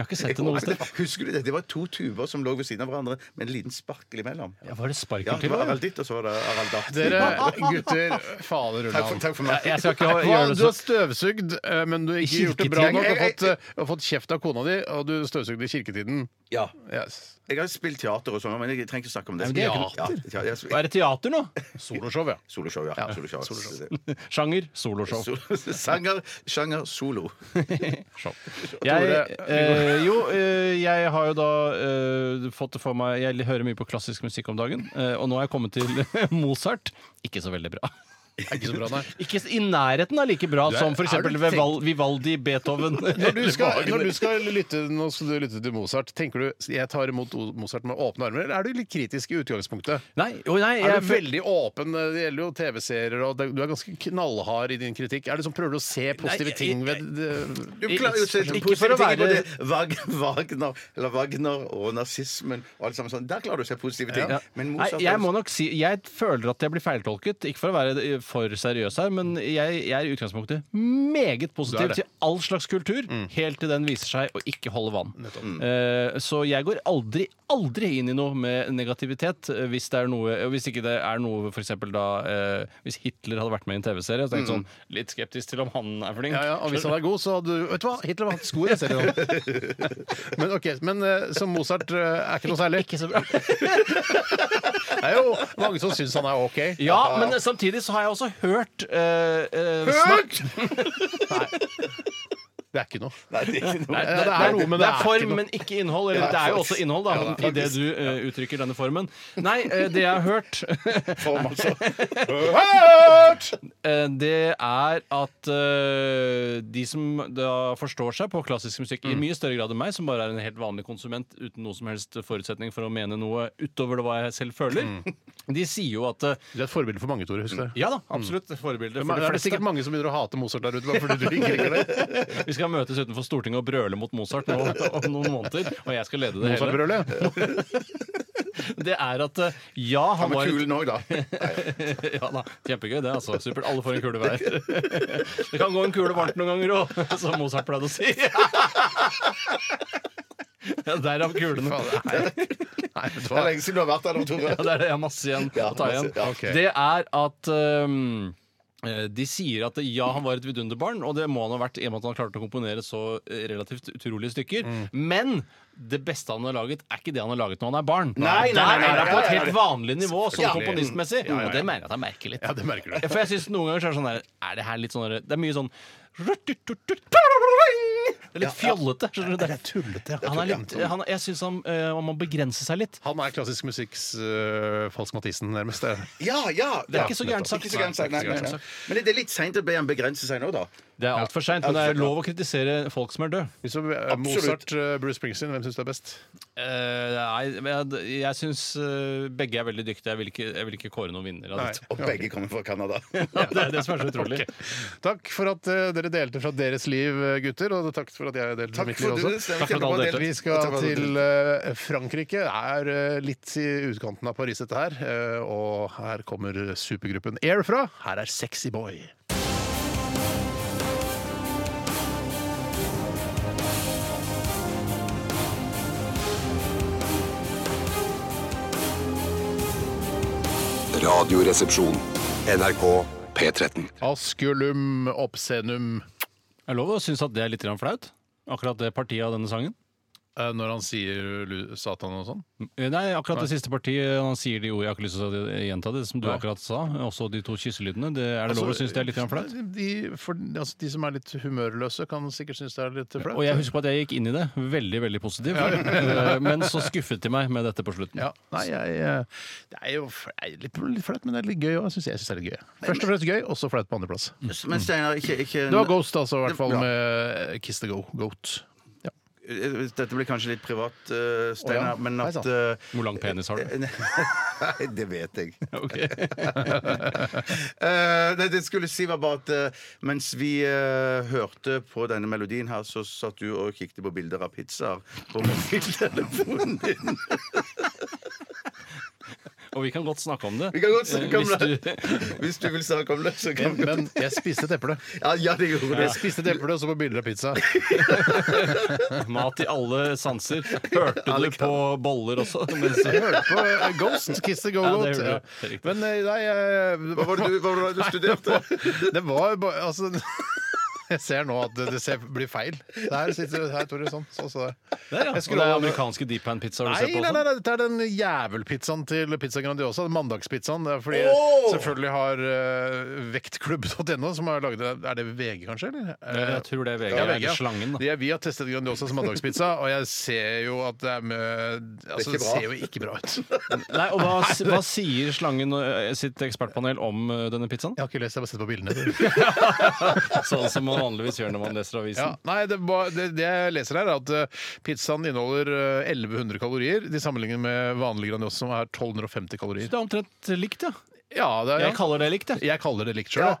Jeg har ikke sett det noe sted. Husker du Eh, det? Det var to tuber som lå ved siden av hverandre med en liten sparkel imellom. Ja, var det Ja, sparkel det til? var da? Harald ditt, og så var det Harald datt. Dere gutter Fader Takk for, Ulland. takk for meg. Jeg skal ikke ha, Hva, gjøre det sånn. du har så støvsugd, eh, men du har ikke gjort det bra Kirketiden. nok. Du har fått, eh, har fått kjeft av kona di, og du støvsugde i kirketiden. Ja. Yes. Jeg har spilt teater og sånn, men jeg trenger ikke snakke om det. Nei, men det er ikke- Ja, ja, ja, Er det teater nå? Soloshow, ja. soloshow, ja. Soloshow. Sjanger? Soloshow. Sol- Sanger, sjanger, solo. Jeg, Tore. eh, jo, eh, jeg har jo da eh, fått det for meg Jeg hører mye på klassisk musikk om dagen, eh, og nå har jeg kommet til Mozart. Ikke så veldig bra. Er ikke så bra, nei. Ikke s- i nærheten av like bra Du er- som f.eks. er du tenkt- Vivaldi, Beethoven Når du, eller skal, Wagner. når du skal lytte nå skal du lytte til Mozart, tenker du jeg tar imot O- Mozart med åpne armer, eller er du litt kritisk i utgangspunktet? Nei, jo, nei, jeg, Er du veldig åpen? eh, Det gjelder jo TV-serier, og det- du er ganske knallhard i din kritikk. Er det sånn, Prøver du å se positive jeg- ting ved det- Du klarer jo å se Ikke for positive å ting i være- både Wag- Wagner, eller Wagner og nazismen og alt sammen sånn. Der klarer du å se positive ting. Ja. Men Nei, Mozart jeg må nok si Jeg føler at jeg blir feiltolket. Ikke for å være eh, for seriøs her, men jeg, jeg er i utgangspunktet meget Du er positiv det. Mm. til all slags kultur, helt til den viser seg å ikke holde vann. Eh, så jeg går aldri, aldri inn i noe med negativitet eh, hvis det er noe eh, Hvis ikke det er noe for eksempel da eh, Hvis Hitler hadde vært med i en TV-serie, så tenkte jeg sånn litt skeptisk til om han er flink. Mm. Ja, ja, og hvis han er god, så hadde du Vet du hva, Hitler var hans gode serien. Men ok, men eh, som Mozart eh, er ikke noe særlig. Ikke så bra. Det er jo mange som syns han er ok. Ja, men eh, samtidig så har jeg også hørt eh, eh, snakk Det er ikke noe. Nei, det er ikke noe. Ja, det er noe, men det det er er ikke form, noe. men ikke innhold. Eller det er jo også innhold, da, i det du eh, uttrykker denne formen. Nei, eh, det jeg har hørt, Form, altså. eh, det er at eh, de som da forstår seg på klassisk musikk Mm. i mye større grad enn meg, som bare er en helt vanlig konsument uten noe som helst forutsetning for å mene noe utover det hva jeg selv føler, Mm. de sier jo at eh, Du er et forbilde for mange, Tore. Husk det. ja da, absolutt. Forbilde Men for er de det fleste. sikkert mange som begynner å hate Mozart der ute bare fordi du ikke liker det? Vi skal møtes utenfor Stortinget og brøle mot Mozart nå, om noen måneder. Og jeg skal lede det hele. Mozart-brølet? Det er at eh, ja, han Han var var kul nå, da. ja da, Kjempegøy, det. altså Supert. Alle får en kule hver. Det kan gå en kule varmt noen ganger òg, som Mozart pleide å si. Ja, Derav kulene. Nei, vet du Det hva? er lenge siden du har vært der nå, Tore. Ja, det er det. Jeg har masse igjen å ta igjen. Ja, ok. Det er at um, eh, de sier at ja, han var et vidunderbarn, og det må han ha vært i og med at han klarte å komponere så eh, relativt utrolige stykker. Men det beste han har laget, er ikke det han har laget når han er barn. Nei, nei, nei, Der nei, er han på nei, et nei, helt vanlig nivå sånn Selvfølgelig. komponistmessig, Ja, ja, ja. og det mener jeg at jeg merker litt. Ja, det merker du. Ja, For jeg synes noen ganger så er det sånn der Er det her litt sånn der Det er mye sånn Det er litt fjollete. skjønner du? Det er tullete. Han er litt, han, jeg syns han, eh, han må begrense seg litt. Han er klassisk musikks uh, Falsk Mathisen, nærmest. Det. Ja, ja. Det er ikke så gærent sagt. Ikke så gærent sagt, nei, Ikke så nei, gærent nei. Men det er litt seint å be han begrense seg nå, da. Det er altfor seint, men det er lov å kritisere folk som er døde. Hvis du- eh, Mozart, eh, Bruce Springsteen, hvem syns du er best? Eh, nei, men jeg, jeg syns eh, begge er veldig dyktige. Jeg vil ikke, jeg vil ikke kåre noen vinner av dette. Og begge kommer fra Canada. Ja, det er det som er så utrolig. Takk for at eh, dere delte fra deres liv, eh, gutter. Og takk for at jeg delte fra Takk mitt for liv også. det. Stemmer Takk for at alle kjempebra. delte. Vi Takk skal for at alle til eh, Frankrike. Det er eh, litt i utkanten av Paris, dette her. eh, og her kommer supergruppen Air fra. Her er Sexy Boy. Radioresepsjon. NRK P13. Asculum obscenum. Er det lov å synes at det er litt grann flaut? Akkurat det partiet av denne sangen? Eh, når han sier lu- Satan og sånn. Eh, Nei, akkurat det siste partiet. Han sier de ordene jeg har ikke lyst til å gjenta, det som du Nei. akkurat sa. Også de to kysselydene. Det, er det lov å Altså, synes det er litt grann flaut? De, for, altså, de som er litt humørløse, kan sikkert synes det er litt flaut. Og jeg husker på at jeg gikk inn i det veldig veldig positiv, Eh, men så skuffet de meg med dette på slutten. Ja. Nei, jeg, eh, det er jo f- det er litt, litt flaut, men det er litt gøy òg. Jeg syns jeg synes det er litt gøy. Først og fremst gøy, og så flaut på andreplass. Men Steinar, ikke, ikke Det var Ghost, altså, i hvert fall Mm. Ja. med eh, Kiss the Go. Goat. Ja. Dette blir kanskje litt privat, eh, Steinar, Å ja. men Nei, at sant. eh, Hvor lang penis har du? Nei, det vet jeg. Ok. Eh, nei, det jeg skulle si var bare at eh, mens vi eh, hørte på denne melodien her, så satt du og kikket på bilder av pizzaer på mobiltelefonen din. Og vi kan godt snakke om det. Vi kan godt snakke om Eh, hvis det. Hvis du vil snakke om det, så kan vi Men jeg spiste et eple. ja, ja, det gjorde det. Jeg spiste et eple og så på bilder av pizza. du Mat i alle sanser. Hørte du på boller også? Mens Jeg hørte på eh, Ghost. Kiss the Ja, det Go-Goat. gjorde Ja, du. Det er riktig. Men eh, nei jeg- Hva var det du, hva var det du studerte? Det var jo bare Altså jeg ser nå at det- det ser, blir feil. Der sitter her, Tore. Sånn. Så, så. Der, ja. Jeg Og skulle det er ha- amerikanske deep pan-pizzaer du Nei, ser på nei, nei, også? nei, dette er den jævelpizzaen til Pizza Grandiosa. den Mandagspizzaen. Det er fordi Åh! selvfølgelig har eh, vektklubb.no, som har laget det Er det VG, kanskje? Eller? Eh, Jeg tror det er VG. Ja, eller VG, ja. Slangen, da. De er- vi har testet Grandiosa som mandagspizza, og jeg ser jo at det er med Altså, ikke det bra. ser jo ikke bra ut. Jeg Nei, og hva, hva sier Slangen eh, sitt ekspertpanel om eh, denne pizzaen? har ikke lest, jeg har bare sett på bildene. Sånn som man vanligvis gjør når man leser avisen. Ja, nei, det, ba- det, det jeg leser her, er at eh, pizzaen inneholder eh, 1100 kalorier. De sammenligner med vanlig Grandiosa, som er 1250 kalorier. Det er omtrent likt, ja. Ja, det er, Jeg kaller det Mm. likt, jeg. jeg kaller det likt sjøl.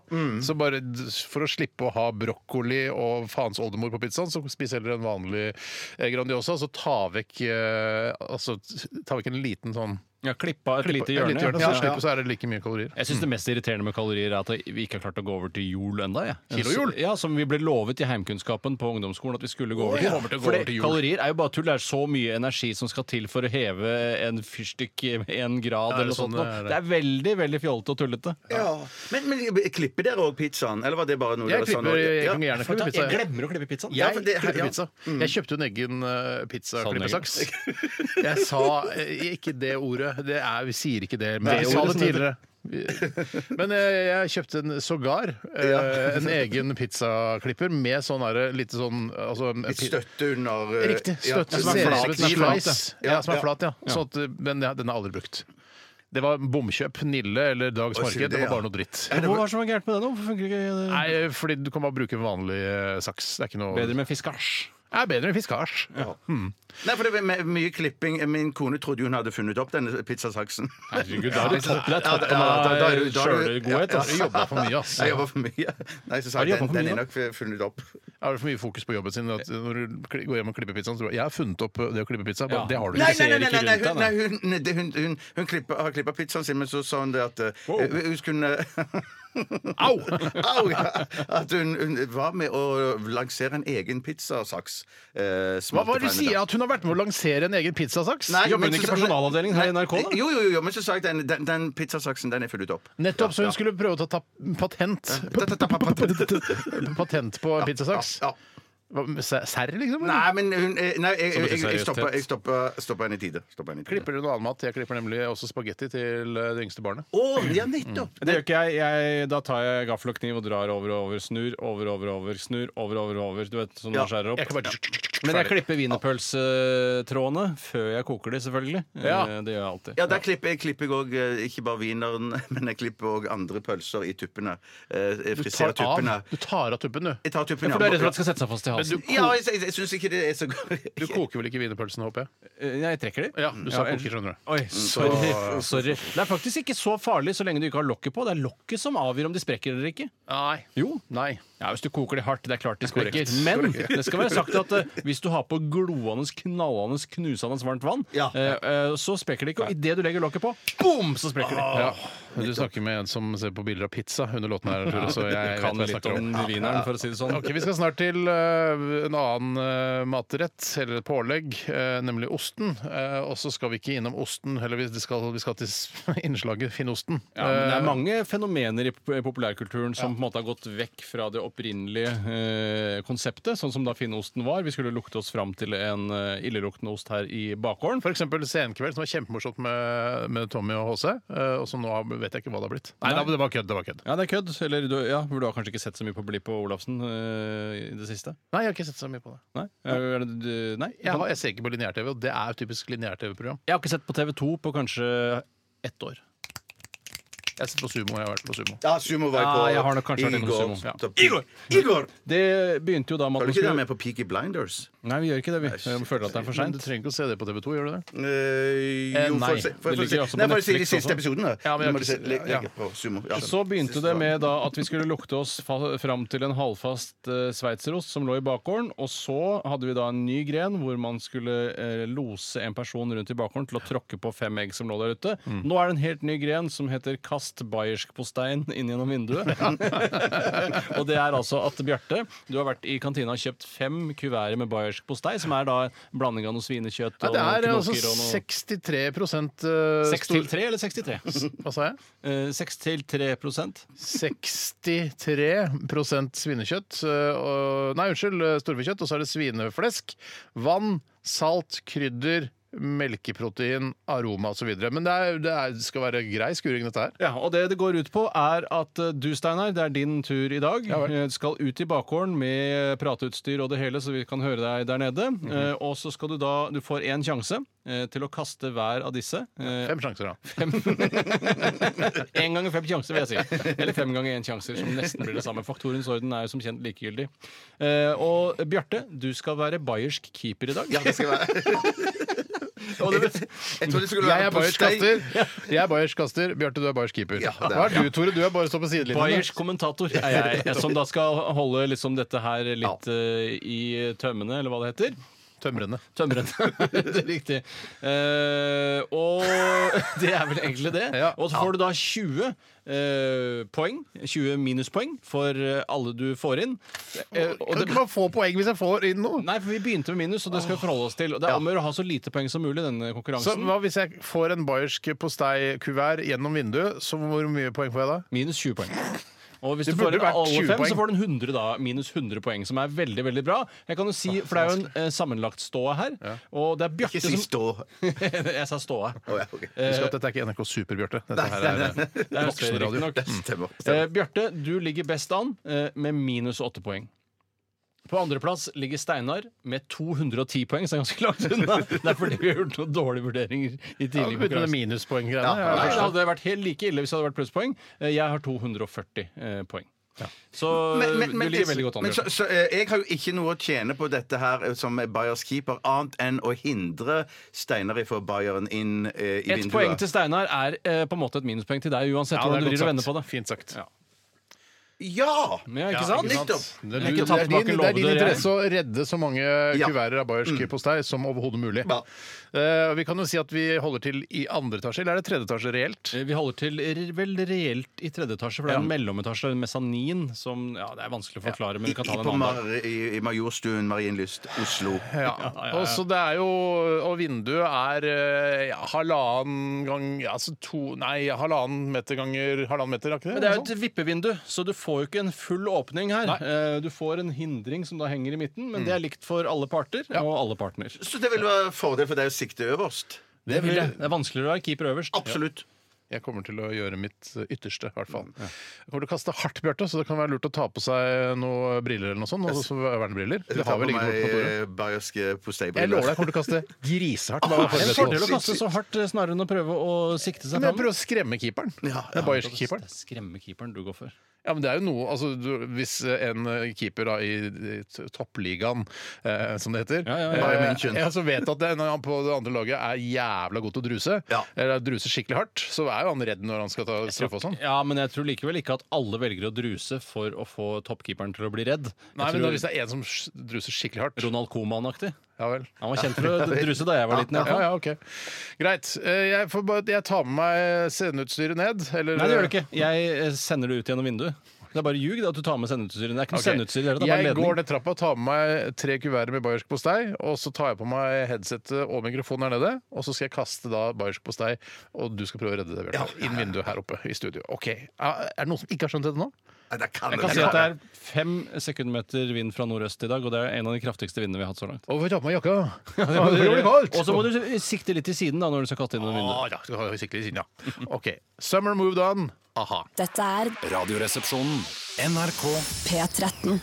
Så bare d- for å slippe å ha brokkoli og faens oldemor på pizzaen, så spis heller en vanlig eh, Grandiosa. Så ta vekk, eh, altså, ta vekk en liten sånn Jeg klippa et lite et hjørne. lite hjørne ja. så, slipper, så er det like mye kalorier. Jeg syns det mest irriterende med kalorier er at vi ikke har klart å gå over til jul ennå. Ja. Kilojul? Ja, som vi ble lovet i heimkunnskapen på ungdomsskolen at vi skulle gå over til. Å, ja. Over til å gå Fordi over til jul. kalorier er jo bare tull. Det er så mye energi som skal til for å heve en fyrstikk med én grad Ja, det er eller noe sånn sånt. nå. det er det. Det er veldig, veldig fjollete og tullete. Ja. Men, men klipper dere òg pizzaen, eller var det bare noe Jeg, dere sa nå? klipper, jeg Ja. kan gjerne klippe pizza. Jeg, glemmer å klippe pizzaen. Ja, for det- klipper ja. pizza. Mm. jeg kjøpte en egen eh, pizzaklippesaks. Jeg sa eh, ikke det ordet. Det er, vi sier ikke det. Men Det jeg sa ordet det som heter- tidligere. Men jeg, jeg kjøpte en sågar eh, en egen pizzaklipper med sånn derre lite sånn altså, en- Litt støtte under eh, Riktig. Støtte. Ja, som er flat, som er flat, slice. Ja, som er Ja. flat, ja. Sånn at, men ja, den er aldri brukt. Det var bomkjøp. Nille eller Dags Å, Marked. sier det, Det var ja. bare noe dritt. Hva er det som er gærent med det nå? Hvorfor funker ikke det? Nei, fordi du kan bare bruke vanlig eh, saks. Det er ikke noe Bedre med fiskasj. er bedre enn fiskars. Nei, for det var me- mye klipping. Min kone trodde hun hadde funnet opp denne pizzasaksen. Herregud, da er det toppen det er Ja, da- toppen ja, da- da er du- av da er du- sjølgodhet. Du altså. jobba for mye, ass. Jeg jobba for mye. Nei, så sa Har du jeg den, jobbet for den mye, er nok funnet opp. Er det for mye fokus på jobben sin at når du kli- går hjem og klipper pizzaen, så tror du, jeg har funnet opp eh, det å klippe pizza. Bare, Ja. Det har du ikke. Nei, nei, nei, ser nei, ikke nei, rundt hun, deg, nei, hun, nei, det- hun, hun, hun klipper, har klippa pizzaen sin, men så sa hun det at eh, hun skulle Au! Au! ja. At hun, hun var med å lansere en egen pizzasaks. eh, Hva smalte var det på du henne sier? da. At hun har vært med å lansere en egen pizzasaks? Nei, Jobber men hun så- ikke i personalavdelingen her i NRK, da? Jo, jo, jo, men så sa jeg den, den, den pizzasaksen, den er funnet opp. Nettopp, så hun skulle prøve å ta ta- patent Ta- ta- ta- pa- patent. Patent på en pizzasaks? Ja. Hva, Serr, serr, liksom? eller? Nei, men hun eh, Nei, jeg, Så mye jeg, jeg, stoppa- jeg seriøsitet. stoppa stoppa henne i tide. Stoppa henne i tide. Klipper du noe annen mat? Jeg klipper nemlig også spagetti til eh, det yngste barnet. Å, ja, nettopp! Mm. Det gjør ikke jeg. jeg. Da tar jeg gaffel og kniv og drar over og over. Snur, over, over, over. Snur, over, over, over. Du vet, sånn man Jeg skjærer opp. kan bare Men jeg klipper wienerpølsetrådene før jeg koker de, selvfølgelig. Ja. Eh, Det gjør jeg alltid. Ja, der klipper jeg klipper jeg òg ikke bare wieneren, men jeg klipper òg andre pølser i tuppene. Eh, jeg Du friserer tar tuppene. av, du tar av tuppen, du. Jeg tar tuppene. For du er redd for at det skal sette seg fast i Men du, halsen? Ja, jeg, jeg, jeg syns ikke det er så godt. du koker vel ikke wienerpølsene, håper jeg? Eh, Jeg trekker de. Ja, du sa jeg- koker, skjønner du. Oi, sorry. sorry. Det er faktisk ikke så farlig så lenge du ikke har lokket på. Det er lokket som avgjør om de sprekker eller ikke. Nei. Jo. Nei. Ja, Hvis du koker de hardt, det er klart de sprekker. Men det skal være sagt at eh, hvis du har på gloende, knallende, knusende varmt vann, Ja. eh, eh, så sprekker de ikke. Og idet du legger lokket på, boom, så sprekker de. Ja. Du snakker med en som ser på bilder av pizza under låten her, Tore, så jeg Du vet kan hva jeg litt snakker om om. wieneren, for å si det sånn. Ok, Vi skal snart til eh, en annen eh, matrett, eller et pålegg, eh, nemlig osten. Eh, og så skal vi ikke innom osten, eller vi skal, vi skal til s- innslaget Finn osten. Eh, Ja, men det er mange Eh, fenomener i pop- populærkulturen som på en måte har gått vekk fra det opprinnelige eh, konseptet, sånn som da finneosten var. Vi skulle lukte oss fram til en eh, illeluktende ost her i bakgården. For eksempel Senkveld, som var kjempemorsomt med, med Tommy og HC. eh, Og som nå har- vet jeg ikke hva det har blitt. Nei, Nei. da, det var kødd. det var kødd Ja, det er kødd. Eller du, ja, for du har kanskje ikke sett så mye på Blipp og Olafsen eh, i det siste? Nei, jeg har ikke sett så mye på det. Nei? Er det, du- nei? Jeg, har, jeg ser ikke på lineær-TV, og det er jo typisk lineær-TV-program. Jeg har ikke sett på TV 2 på kanskje ett år. Jeg har sett på Sumo. jeg har vært på sumo Ja, sumo var jeg Ja, på. jeg har nok kanskje vært innom Igor. sumo. Ja. Igor! Igor! Det begynte jo da med Var at du man ikke der skulle med på Peaky Blinders? Nei, vi gjør ikke det, vi. Vi føler at det er for Men du seint. trenger ikke å se det på TV 2, gjør du det? Eh, Eh, jo, nei, får jeg se- det får jeg ligger se- jo også på Nei, får jeg si de Netflix siste også. Ja, episodene? men jeg har Må du ikke se- sett- le- ja. legge på sumo. Ja. Så begynte det med da at vi skulle lukte oss fa fram til en halvfast eh, sveitserost som lå i bakgården. Og så hadde vi da en ny gren hvor man skulle eh, lose en person rundt i bakgården til å tråkke på fem egg som lå der ute. Mm. Nå er det en helt ny gren som heter 'kast bayersk postein inn gjennom vinduet'. og det er altså at Bjarte, du har vært i kantina og kjøpt fem kuverter med bayersk postei, som er da en blanding av noe svinekjøtt og det er noen altså knoker og noe 63 eh, Seks til stor- tre eller 63? Hva sa jeg? Eh, Seks til tre prosent. 63 svinekjøtt. eh, og- Nei, unnskyld, eh, storfekjøtt. Og så er det svineflesk. Vann, salt, krydder, melkeprotein, aroma osv. Men det, er, det er, skal være grei skuring, dette her. Ja, og det det går ut på er at eh, du, Steinar, det er din tur i dag. Eh, Du skal ut i bakgården med prateutstyr og det hele, så vi kan høre deg der nede. Mhm. Eh, Og så skal du da Du får én sjanse eh, til å kaste hver av disse. Eh, Fem sjanser, da. Én ganger fem sjanser, vil jeg si. Eller fem ganger én sjanser, som nesten blir det samme. Faktorens orden er jo som kjent likegyldig. Eh, og Bjarte, du skal være bayersk keeper i dag. Ja, det skal være Og det, Jeg trodde det skulle Jeg være er bayersk postei. kaster. Jeg er bayersk kaster. Bjarte, du er bayersk keeper. Ja, det er- Hva er du, Tore? Du er bare stå på sidelinjen. Bayersk kommentator er jeg, jeg, som da skal holde liksom dette her litt eh, i tømmene, eller hva det heter. Tømrende. Tømrende. det er riktig. Eh, og det er vel egentlig det. Ja. Og så får du da 20 eh, poeng. 20 minuspoeng for eh, alle du får inn. Eh, og Kan det, ikke man få poeng hvis jeg får inn noe? nei, for vi begynte med minus, og det skal vi forholde oss til. Og det er om å gjøre å ha så lite poeng som mulig i denne Så konkurransen. hva Hvis jeg får en bayersk posteikuvert gjennom vinduet, så hvor mye poeng får jeg da? Minus 20 poeng. Og hvis Det du burde får inn vært alle 20 fem, poeng. så får du en 100 da, minus 100 poeng, som er veldig veldig bra. Jeg kan jo si, For det er jo en eh, sammenlagt stå her, og det er Bjarte Ikke si som stå. Jeg sa ståa. Å, ja, ok. Husk Eh, at dette er ikke NRK Super-Bjarte. Dette her er eh, Det er voksenradio. riktig nok. Stemmer. Eh, stemmer. Bjarte, du ligger best an eh, med minus 8 poeng. På andreplass ligger Steinar med 210 poeng, så det er ganske langt unna. Det er fordi vi har gjort noen dårlige vurderinger i tidlig Uten det konkurranse. minuspoeng-greiene. Nei, Ja, Det hadde vært helt like ille hvis det hadde vært plusspoeng. Eh, Jeg har 240 eh, poeng. Så Men- men- men- du ligger veldig godt an. men så, Bjarte. så, eh, jeg har jo ikke noe å tjene på dette her eh, som Bayers keeper, annet enn å hindre Steinar i å få Bayern inn eh, i Et vinduet. poeng til Steinar er eh, på en måte et minuspoeng til deg, uansett Ja, det er hvordan du godt vrir og vender på sagt. det. Fint sagt. Ja. Ja! Ja, ikke sant? ikke sant? Det Jeg er, du, det, har ikke tatt er din, det tilbake er din lovede, jeg. interesse å redde så mange kuverter av Mm. bayersk postei som overhodet mulig. Ja. Eh, vi kan jo si at vi holder til i andre etasje, eller er det tredje etasje reelt? Eh, Vi holder til r- vel reelt i tredje etasje, for det er en mellometasje, en mesanin, som ja, det er vanskelig å forklare, men vi kan ta I, det en på annen dag. Mar i, i Majorstuen, Marienlyst, Oslo. Ja. Og så det er jo Og vinduet er eh, ja, halvannen gang ja, altså to, Nei, halvannen meter ganger halvannen meter, er ikke det? Men det er jo Noe sånt? et vippevindu, så du får jo ikke en full åpning her. Eh, Du får en hindring som da henger i midten, men Mm. det er likt for alle parter og alle partner. Så det vil være fordel for deg å sikte øverst. Det, vil jeg. det er vanskeligere å være keeper øverst. Absolutt. Jeg kommer til å gjøre mitt eh, ytterste, i hvert fall. Jeg kommer til å kaste hardt, Bjarte, så det kan være lurt å ta på seg noen briller eller noe sånt. Altså vernebriller. Det har vi liggende på kontoret. Bayerske Jeg lover deg, posteibriller. jeg kommer til å kaste grisehardt. bare Det er forberedt en på fordel å det. kaste så hardt eh, snarere enn å prøve å sikte seg Men jeg fram. prøver å skremme keeperen. Ja, Den bayerske Det keeperen. er skremmekeeperen du går for. Ja, men det er jo noe, altså, du, Hvis en eh, keeper da, i i t- toppligaen, eh, som det heter, Ja, ja, ja. Bayern Eh, München. ja, som vet at det, når han på det andre laget er jævla god til å druse, Ja. eller druse skikkelig hardt, så er jo han redd når han skal ta straffe og sånn. Ja, men jeg tror likevel ikke at alle velger å druse for å få toppkeeperen til å bli redd. Jeg Nei, men tror da, Hvis det er en som s- druser skikkelig hardt Ronald Koman-aktig. Ja vel. Han var kjent for å druse da jeg var liten. i hvert fall. Ja, ja, ok. Greit. Eh, Jeg, får, bare- jeg tar med meg sceneutstyret ned. Eller, Nei, det gjør du ikke. Jeg eh, sender det ut gjennom vinduet. Det er bare ljug det at du tar med sendeutstyret. Det er ikke noe Ok. sendeutstyr. Det er bare en Jeg ledning. går ned trappa, tar med meg tre kuverter med bayersk postei, og så tar jeg på meg headsetet og mikrofonen her nede, og så skal jeg kaste da bayersk postei, og du skal prøve å redde det, Bjarte. Inn vinduet her oppe i studio. Ok. Er er det noen som ikke har skjønt dette nå? Nei, det kan Jeg kan si at det er fem sekundmeter vind fra nordøst i dag, og det er en av de kraftigste vindene vi har hatt så langt. Å, får jeg ta på meg jakka? Ja, det blir kaldt! Og så må du sikte litt til siden da når du skal kaste inn gjennom vinduet. Å, Ah, ja, du har jo sikkert siden, ja. OK. Summer moved on. Aha. Dette er Radioresepsjonen. NRK P13.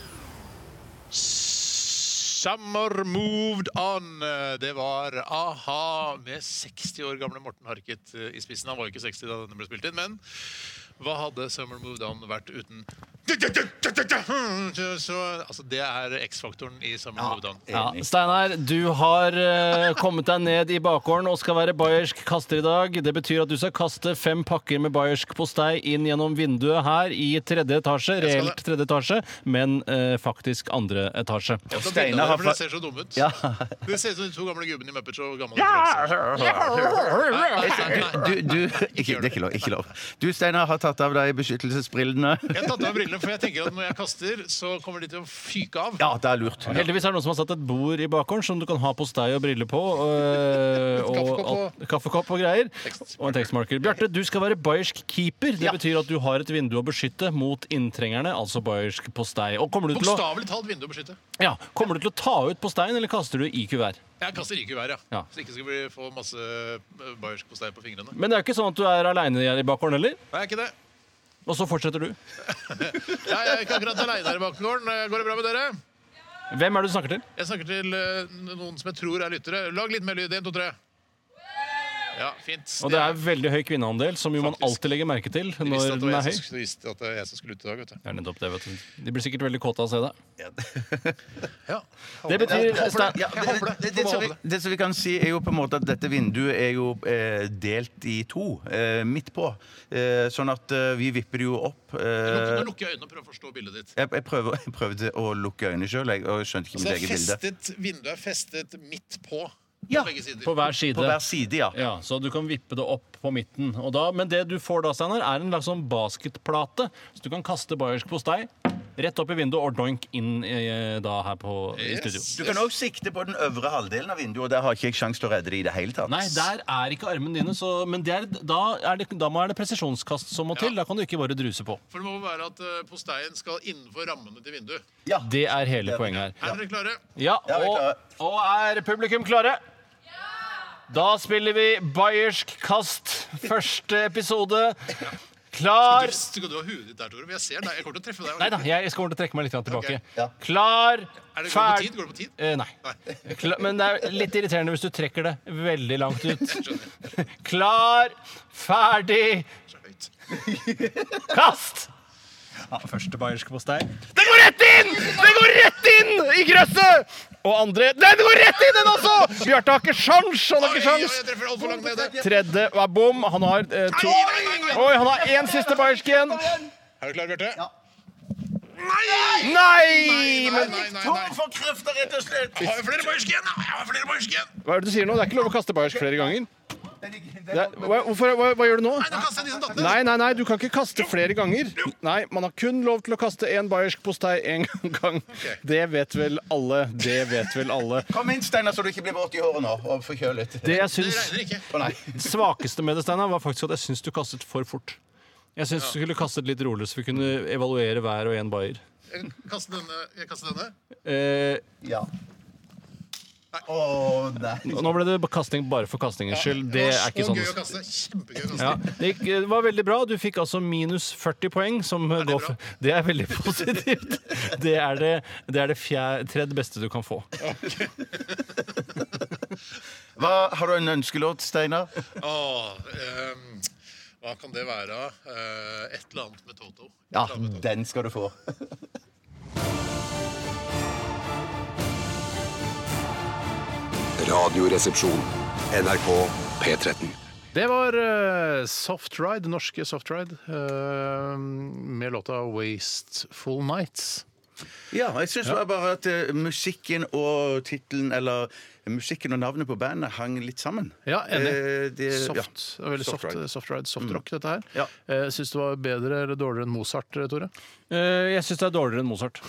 Summer moved on. Det var eh, a-ha med 60 år gamle Morten Harket i spissen. Han var jo ikke 60 da denne ble spilt inn, men Hva hadde Summer Moved On vært uten så, altså, Det er X-faktoren i Summer Moved On. eh, Ja, Steinar, du har eh, kommet deg ned i bakgården og skal være bayersk kaster i dag. Det betyr at du skal kaste fem pakker med bayersk postei inn gjennom vinduet her i tredje etasje. skal Reelt tredje etasje, men eh, faktisk andre etasje. Jeg tar bilde Steinar Sånn av har det, for det fa- ser så dumme ut. Ja. Det ser ut som de to gamle gubbene i Muppets og gammel referanse. Nei, nei, nei, nei. Du, du ikke, Det er ikke lov. Ikke lov. Du, Steinar, har tatt av deg beskyttelsesbrillene. Jeg har tatt av brillene, for jeg tenker at når jeg kaster, så kommer de til å fyke av. Ja, det er lurt. Heldigvis er det noen som har satt et bord i bakgården som du kan ha postei og briller på. eh, og Kaffekopp og- alt- kaffekopp og greier. Og en tekstmarker. Bjarte, du skal være bayersk keeper. Det betyr at du har et vindu å beskytte mot inntrengerne, altså bayersk postei. Og kommer du til å Bokstavelig talt vindu å beskytte. Ja, Kommer du til å ta ut på stein, eller kaster du i kuvert? Jeg kaster ikke i været, ja. Ja. Så ikke skal vi få masse eh, bayersk postei på fingrene. Men det er jo ikke sånn at du er aleine i bakgården heller. Nei, ikke det. Og så fortsetter du. Jeg er ikke akkurat aleine her i bakgården. Eh, Går det bra med dere? Hvem er det du snakker til? Jeg snakker til eh, noen som jeg tror er lyttere. Lag litt mer lyd. En, to, tre. Ja, fint. Og det er veldig høy kvinneandel, som jo man Faktisk. alltid legger merke til De visste når at det den var er høy. jeg som- de visste at det var jeg som skulle ut i dag, vet du. Det er nettopp det, vet du. De blir sikkert veldig kåte av å se deg. Ja. Det betyr Stein- Ja, det, det, det, det, som vi, det som vi kan si, er jo på en måte at dette vinduet er jo eh, delt i to eh, midt på. Eh, sånn at eh, vi vipper det jo opp. Eh, Nå lukker jeg øynene og prøver å forstå bildet ditt. jeg, jeg, prøver, jeg prøvde å lukke øynene sjøl, og jeg Så skjønte ikke mitt det er eget bilde. festet, vinduet er festet midt på. Ja, på begge sider. På hver På side. hver side, ja. Ja, Så du kan vippe det opp på midten. Og da, men det du får da, Steinar, er en slags sånn basketplate. Så du kan kaste bayersk postei rett opp i vinduet og doink inn eh, da her på, i Yes. studio. Du kan òg sikte på den øvre halvdelen av vinduet, og der har ikke jeg sjanse til å redde det i det hele tatt. Nei, der er ikke armene dine, så, men det er, da, er det, da må er det presisjonskast som må til. Da kan du ikke bare druse på. For det må være at eh, posteien skal innenfor rammene til vinduet. Ja. Det er hele poenget her. Er dere klare? Ja, Ja, vi er og, klare. og er publikum klare? Da spiller vi Bayersk kast, første episode. Klar Du, skal du ha huet ditt der, Tore? Jeg ser deg. Jeg kommer til å treffe deg. Nei da, jeg skal ordentlig trekke meg litt grann tilbake. Ok. Ja. Klar, Er det, går, det på ferdig tid? går det på tid? Eh, nei. Kla- men det er litt irriterende hvis du trekker det veldig langt ut. Klar, ferdig, Så høyt. kast! første bayerske postei. Den går rett inn! Den går rett inn i gresset! Og andre Den går rett inn, den også! Bjarte har ikke sjans! Han har Oi, ikke oi, sjans! jeg treffer altfor langt nede. Tredje er bom. Han har eh, to Nei, nei, nei, nei. Oi, han har én siste bayersk igjen. Er du klar, Bjarte? Ja. Nei! Nei, Men nei, nei, nei. for krefter, rett og slett! Jeg har flere bayersk igjen! da. Jeg har flere bayersk igjen! hva er det du sier nå? Det er ikke lov å kaste bayersk flere ganger. Det er, hva, hvorfor, hva, hva gjør du nå? Nei, nå kaster jeg de som datt ned. Nei, nei, nei, du kan ikke kaste flere ganger. Nei, man har kun lov til å kaste én bayersk postei én gang. Det vet vel alle. Det vet vel alle. Kom inn, Steinar, så du ikke blir våt i håret nå og forkjølet. Det jeg Det syns regner ikke. Å, nei. svakeste med det, Steinar, var faktisk at jeg syns du kastet for fort. Jeg syns du skulle kastet litt rolig, så vi kunne evaluere hver og en bayer. Jeg kaster denne. Jeg kaster denne. Eh, Ja. Å, nei. nå ble det kasting bare for kastingens skyld. Det er ikke så sånn. gøy å kaste. Kjempegøy å kaste. Ja, det, gikk, det var veldig bra. Du fikk altså minus 40 poeng. Som det, går bra? for, det er veldig positivt. Det er det, det, er det fjer, tredje beste du kan få. Hva, har du en ønskelåt, Steinar? Åh, ehm, hva kan det være? Eh, et eller annet med Toto. Et Ja, eller annet med Toto. den skal du få. Radioresepsjon. NRK P13. Det var eh, Soft Ride, norske Soft Ride, eh, med låta 'Wasteful Nights'. Ja, jeg syns bare at eh, musikken og tittelen, eller musikken og navnet på bandet, hang litt sammen. Ja, enig. Eh, det, ja. Soft, Veldig soft, Soft soft eh, ride, ride. soft, rock, dette her. Ja. Eh, Syns du det var bedre eller dårligere enn Mozart, Tore? Eh, jeg syns det er dårligere enn Mozart.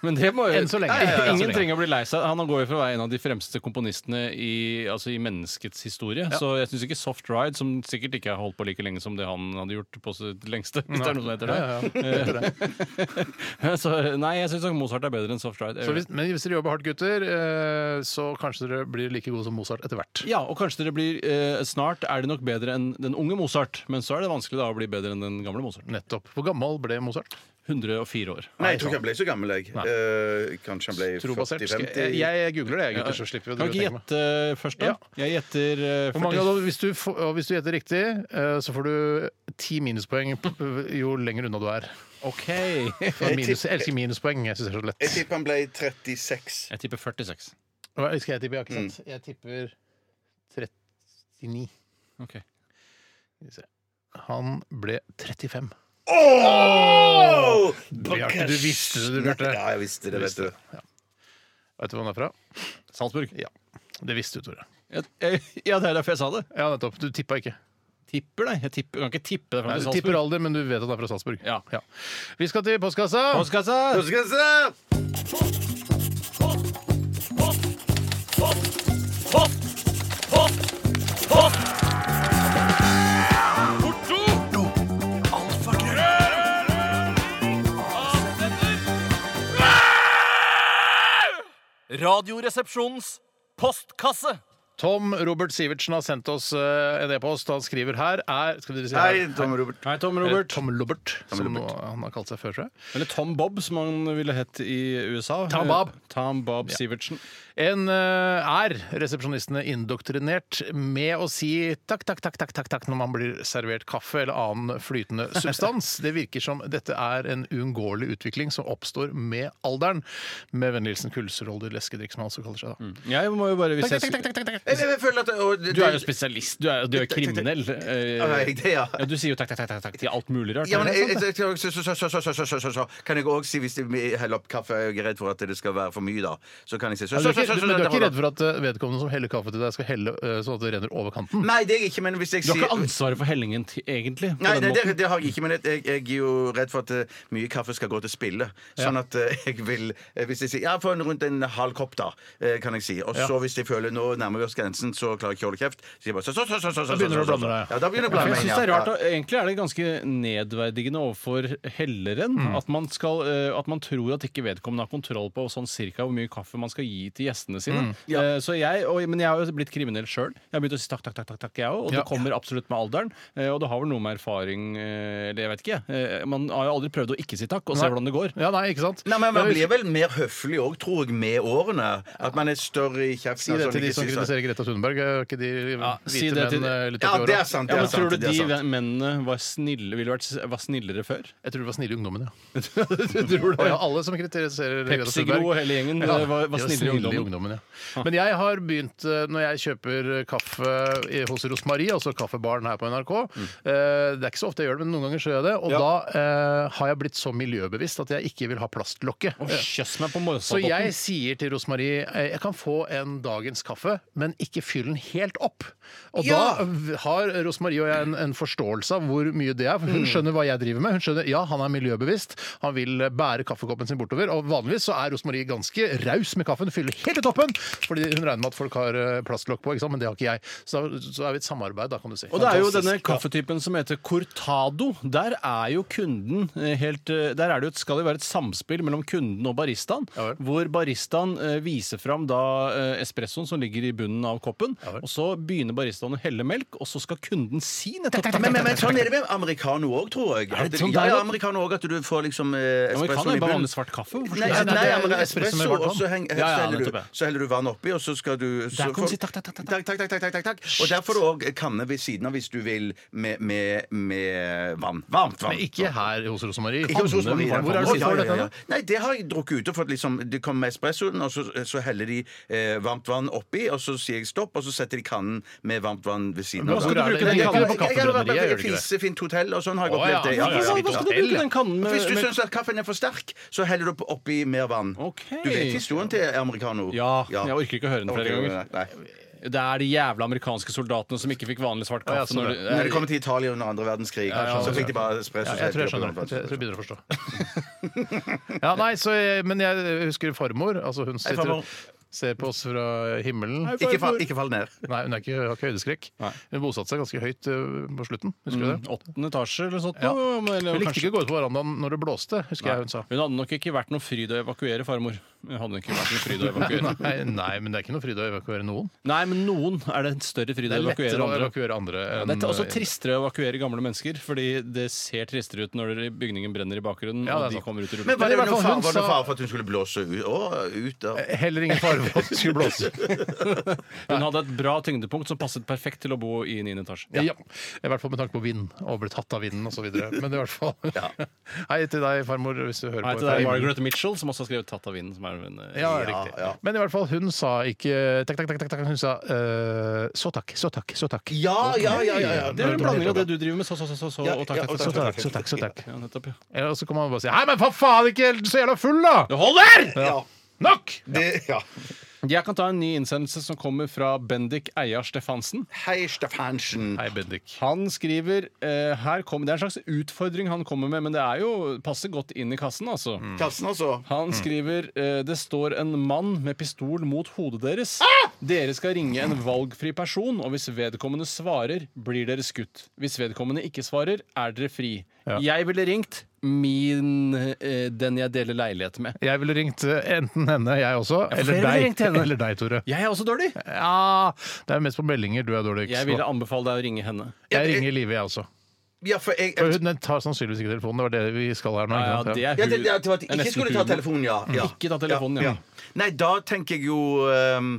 Men det må Enn så lenge. Ja, ja, ja, ja, så Ingen lenge. trenger å bli lei seg. Han går jo for å være en av de fremste komponistene i, altså i menneskets historie. Så jeg syns ikke Soft Ride, som sikkert ikke har holdt på like lenge som det han hadde gjort på sitt lengste, hvis det er noe som heter det. Eh, så, nei, jeg syns nok Mozart er bedre enn Soft Ride. Så hvis, men hvis dere jobber hardt, gutter, eh, så kanskje dere blir like gode som Mozart etter hvert. Ja, og kanskje dere blir eh, snart er det nok bedre enn den unge Mozart, men så er det vanskelig da å bli bedre enn den gamle Mozart. Nettopp. Hvor gammel ble Mozart? 104 år. Nei, jeg tror ikke han ble så gammel, jeg. Eh, kanskje han ble Trobasert. Skal- 40-50? Jeg, jeg googler det, jeg, gutter, så slipper vi å Kan du drive og ikke tenke meg. gjette eh, først, da? Ja. Jeg gjetter eh, Hvor 40. mange av dem- hvis, du får- og hvis du gjetter riktig, eh, så får du ti minuspoeng p- jo lenger unna du er. OK. For Minus, jeg elsker minuspoeng. Jeg syns det er så Jeg lett. tipper han ble 36. Jeg tipper 46. Hva skal jeg tippe? Ja, ikke sant? Jeg tipper 39. Ok. Skal vi se. Han ble 35. Åh! Bjarte, du visste det, du, Bjarte. Ja, jeg visste det, vet du. Vet du hvor han er fra? Salzburg. Ja. Det visste du, Tore. Jeg- jeg- Ja, det er derfor jeg sa det. Ja, nettopp. Du tippa ikke. Tipper, nei. Jeg tipper, kan ikke tippe det Nei, fra du Salzburg. tipper alder, men du vet at han er fra Salzburg. Ja. Vi skal til postkassa. Postkassa! Postkassa! Radioresepsjonens postkasse. Tom Robert Sivertsen har sendt oss eh, en e-post. Han skriver her er Skal dere si her? Hei, Tom Robert. Hei, Tom Eller Robert. Tom Lobert, som nå- han har kalt seg før, tror jeg. Eller Tom Bob, som han ville hett i USA. Eh, Tom Bob. Tom Bob Sivertsen. En eh, er resepsjonistene indoktrinert med å si takk, takk, takk, takk, takk, takk når man blir servert kaffe eller annen flytende substans. Det virker som dette er en uunngåelig utvikling som oppstår med alderen. Med vennlig hilsen Kulserolder Leskedrikk, som han også kaller seg da. Mm. Jeg må jo bare hvis jeg, Takk, takk, takk, takk, takk, Jeg, jeg, jeg føler at og, det, Du er jo spesialist. Du er, du er kriminell. Ja, jeg- Eh, det, ja. Ja, du sier jo takk, takk, takk, takk, takk til alt mulig rart. Sånn. Ja, men er det jeg, sant, det? jeg, jeg, så, så, så, så, så, så, så, så, så, kan jeg òg si, hvis jeg heller opp kaffe og jeg er redd for at det skal være for mye, da, så kan jeg si så, Ja, så, så, du er så, ikke, så, men du er ikke så, redd for at eh, vedkommende som heller kaffe til deg, skal helle eh, sånn at det renner over kanten? Nei, det er jeg ikke, men hvis jeg Du har sier ikke ansvaret for hellingen, til- egentlig. På Nei, den nei det, måten. det har jeg ikke, men jeg, jeg, jeg er jo redd for at eh, mye kaffe skal gå til spille. Sånn at eh, jeg vil eh, Hvis jeg sier ja, få en rundt en halv kopp, da, eh, kan jeg si. Og så hvis jeg føler nå nærmer vi oss grensen, så klarer jeg ikke å holde kjeft. Så sier jeg bare så, så, så, så, så, så, så, så, så. begynner du å blande deg. Ja, da begynner jeg å For blande Jeg meg. synes inn, det er ja. rart, og Egentlig er det ganske nedverdigende overfor helleren at, man skal, eh, at man tror at ikke vedkommende har kontroll på sånn cirka hvor mye kaffe man skal gi til gjestene sine. Eh, Så jeg, og, men jeg har jo blitt kriminell sjøl. Jeg har begynt å si takk, takk, takk, takk, takk jeg òg. Og Ja. det kommer absolutt med alderen. Eh, Og det har vel noe med erfaring eh, Eller jeg vet ikke. eh, Man har jo aldri prøvd å ikke si takk, og se Nei. hvordan det går. Ja, nei, ikke sant? Nei, men Man Jeg blir vel mer høflig òg, tror jeg, med årene. At man er større i kjeften. Si og det sånn, til de ikke som si sånn. kritiserer Greta Thunberg. Er ikke de hvite si det menn til- eh, litt Ja, oppi det er året? sant. Ja, Det er men sant, Tror du det de er sant. mennene var snille, ville vært, var snillere før? Jeg tror det var snille ungdommen, ja. tror Og ja, alle som kritiserer Greta Pepsi Gro og Thunberg. hele gjengen Ja, eh, var, de var snillere i ungdommen. ja. Men jeg har begynt, eh, når jeg kjøper kaffe i- hos Rosmarie, altså kaffebaren her på NRK Mm. eh, Det er ikke så ofte jeg gjør det, men noen ganger så gjør jeg det. Og da eh, har jeg blitt så miljøbevisst at jeg ikke vil ha plastlokket. Å, Kjøss meg på Så morgenstadbåten. jeg sier til Rosmarie eh, jeg kan få en dagens kaffe, men ikke fyll den helt opp. Og da v- har Rosmarie og jeg en, en forståelse av hvor mye det er. For hun skjønner hva jeg driver med. Hun skjønner, ja, Han er miljøbevisst, han vil eh, bære kaffekoppen sin bortover. Og vanligvis så er Rosmarie ganske raus med kaffen, fyller helt til toppen. Fordi hun regner med at folk har eh, plastlokk på, ikke sant? men det har ikke jeg. Så, da- så er vi et samarbeid, da, kan du si. Og det er jo Fantastisk. denne kaffetypen som heter cortado. Der er jo kunden eh, helt eh, Der er det jo, et- skal det jo være et samspill mellom kunden og baristaen. Ja vel. hvor baristaen eh, viser fram da eh, espressoen som ligger i bunnen av koppen. vel. og så begynner baristaen å helle melk, og så skal kunden si nettopp Men, men, men sånn er det med americano òg, tror jeg. Er det At- sånn ja, der ja, også? americano òg, at du får liksom eh, Americano espressoen er i bare bunnen. vanlig svart kaffe, hvorfor Nei, skal nei, du- Nei, det er men espresso med espresso, varmt og så vann. heng- Ja, ja, så heller, nettopp, ja. du, så heller du vann oppi, og så skal du så Der kan får- du si takk, takk, takk, takk, takk, takk, takk, takk, takk, takk. Og der får du òg eh, kanne ved siden av hvis du vil, med, med, med vann. Varmt vann. Men ikke her hos Rosmarie. Ikke hos Rosmarie. Hvor er det Å, du ja, får ja, dette? ja. da? Nei, det har jeg drukket ute. For at liksom, det kommer med espressoen, og så, så heller de eh, varmt vann oppi, og så sier jeg stopp, og så setter de kannen med varmt vann ved siden Men av. hvor er det- Nei, de jeg- kaller det jeg- på jeg- jeg- kaffebrenneriet, jeg- gjør de ikke det? Fisefint hotell og sånn har jeg Å, ja. opplevd det. Ja, ja, Hva ja. hva skal du bruke den kannen med? Hvis du med- syns at kaffen er for sterk, så heller du på- oppi mer vann. Ok. Du vet historien til americano? Ja, jeg orker ikke å høre den flere Ok, ganger. Nei. Det er de jævla amerikanske soldatene som ikke fikk vanlig svart kaffe. sånn når det. de- Når det kommer til Italia under andre verdenskrig, ja, så ja. fikk de bare espresso. Ja, jeg tror jeg skjønner. det. Jeg tror jeg begynner å forstå. ja, nei, så jeg, Men jeg husker farmor. Altså hun sitter farmor. og ser på oss fra himmelen. Ikke fall, ikke fall ned. Nei, Hun er ikke, har ikke høydeskrekk. Nei. Hun bosatte seg ganske høyt ø, på slutten. Husker du det? Mm, Åttende etasje eller sånt. Ja. noe, eller Mm. Hun likte kanskje- ikke å gå ut på verandaen når det blåste, husker jeg hun sa. Hun hadde nok ikke vært noe fryd å evakuere farmor. Det hadde ikke vært noe fryd å evakuere. Nei, nei, men det er ikke noe fryd å evakuere noen. Nei, men noen er det en større fryd Det å er evakuere lettere å andre. evakuere andre Ja, enn Det er også tristere å evakuere gamle mennesker, fordi det ser tristere ut når bygningen brenner i bakgrunnen. Ja, og de det er sant. kommer ut i Men var rullestol. det Men i noe hvert fall fare hun var det sa- noe fare for at hun Eh, skulle blåse ut, å, ut av eh, Heller ingen fare for at det skulle blåse. Hun hadde et bra tyngdepunkt som passet perfekt til å bo i 9. etasje. Ja. I hvert fall med tanke på vind, og bli tatt av vinden osv. Men i hvert fall Hei til deg, farmor, hvis du hører Hei på. til deg, dette. Margaret Mitchell, som også har skrevet 'Tatt av vinden'. Som er en, eh, Ja, det er riktig. Men i hvert fall, hun sa ikke takk, takk, takk, takk, takk. Hun sa eh, så takk, så takk, så takk. Ja, ja, ja. ja, ja. Det er en blanding av det du driver med. Så, så, så, så, så og takk, takk, Så takk. takk. takk, så takk, så takk. Ja, nettopp, ja. Eller så kan man bare si Hei, men for faen ikke så jævla full, da! Det holder! Nok! Det, ja. Jeg kan ta en ny innsendelse som kommer fra Bendik Eia Stefansen. Hei, Stefansen. Hei, Bendik. Han skriver eh, her kom, Det er en slags utfordring han kommer med, men det er jo passer godt inn i kassen, altså. Mm. Kassen, altså. Han skriver eh, det står en mann med pistol mot hodet deres. Ah! Dere skal ringe en valgfri person, og hvis vedkommende svarer, blir dere skutt. Hvis vedkommende ikke svarer, er dere fri. Jeg ville ringt min eh, den jeg deler leilighet med. Jeg ville ringt eh, enten henne, jeg også, eller flere ville ringt deg. henne. Eller deg, Tore. Jeg er også dårlig. Ja, Det er mest på meldinger du er dårligst Jeg på. ville anbefale deg å ringe henne. Jeg ringer Live, jeg også. Ja, for jeg, For hun tar sannsynligvis ikke telefonen. Det var det vi skal her Ja, nå. ja, ikke sant? det Ja. ja, er hu- det, det, det var at jeg det er ikke nesten skulle ta humor. telefonen, ja. ja. Ikke ta telefonen, ja. Nei, da tenker jeg jo ehm,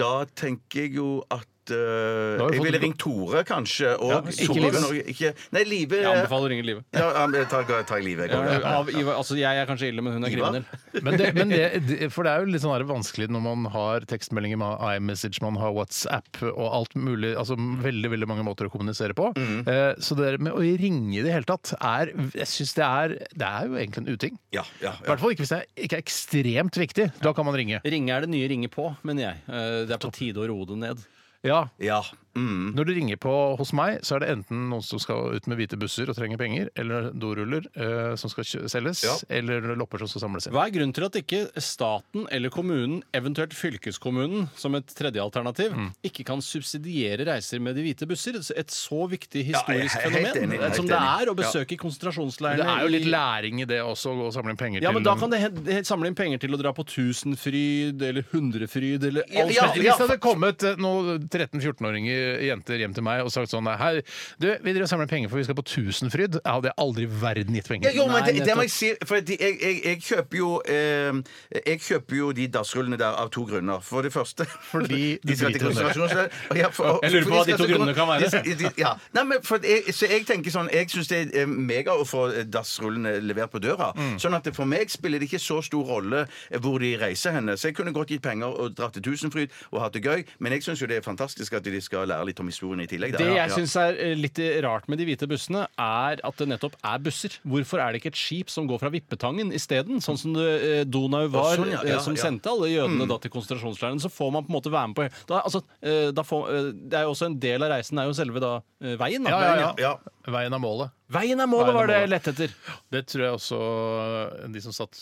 Da tenker jeg jo at eh, Da har vi jeg fått- ville ringt Tore, kanskje. Og ikke Tore, Live. når jeg Ikke, nei, Live Jeg anbefaler å ringe Live. Ja, ja, men ta, ta i livet. Ja, av, Ivar, altså, jeg er kanskje ille, men hun er Ivar? kriminell. Men, det, men det, det- for det er jo litt sånn her vanskelig når man har tekstmeldinger, man har iMessage, man har WhatsApp og alt mulig. Altså veldig veldig mange måter å kommunisere på. Mm. Eh, så det der med å ringe i det hele tatt, er, jeg synes det er Det er jo egentlig en uting. Ja, ja, I hvert fall ikke hvis det er, ikke er ekstremt viktig. Da kan man ringe. Ringe er det nye ringe på, mener jeg. Eh, Det er på tide å roe det ned. Ja, ja. Mm. Når det ringer på hos meg, så er det enten noen som skal ut med hvite busser og trenger penger, eller doruller eh, som skal kjø- selges, Ja. eller lopper som skal samles inn. Hva er grunnen til at ikke staten eller kommunen, eventuelt fylkeskommunen, som et tredje alternativ, ikke kan subsidiere reiser med de hvite busser? Et så viktig historisk Ja, jeg er helt fenomen enig, helt som det enig. er å besøke konsentrasjonsleirene Det er jo litt i- læring i det også, å gå og samle inn penger ja, men til Da kan det he- he- samle inn penger til å dra på Tusenfryd eller Hundrefryd eller Ja, alt ja, mulig. Hvis det hadde kommet eh, noen 13-14-åringer jenter hjem til meg og sagt sånn Hei, du, vi driver og samler penger for vi skal på Tusenfryd. Jeg hadde aldri i verden gitt Ja, penger. jo, men Nei, det, det må jeg si, for de, jeg, jeg, jeg kjøper jo eh, Jeg kjøper jo de dassrullene der av to grunner. For det første Fordi du de skal til driter i det. konsentrasjonsleir. og ja, for- og- Jeg lurer på for hva de skal to til kon- grunnene kan være. de skal- de- ja. Nei, men for jeg, så jeg tenker sånn Jeg syns det er mega å få dassrullene levert på døra. Sånn at det for meg spiller det ikke så stor rolle eh, hvor de reiser henne. Så jeg kunne godt gitt penger og dratt til Tusenfryd og hatt det gøy, men jeg syns jo det er fantastisk at de skal lære litt om historien i tillegg. da. Det Ja, jeg ja. syns er eh, litt rart med de hvite bussene, er at det nettopp er busser. Hvorfor er det ikke et skip som går fra Vippetangen isteden? Sånn som det, eh, Donau var, sånn, ja, eh, ja, som ja. sendte alle jødene da til konsentrasjonsleirene. Så får man på en måte være med på da, altså, eh, da får, eh, Det er jo også en del av reisen er jo selve da eh, veien. Da. Ja, ja, ja. Ja. Veien av målet. Veien er målet, Veien er var det jeg målet. lette etter. Det tror jeg også eh, de som satt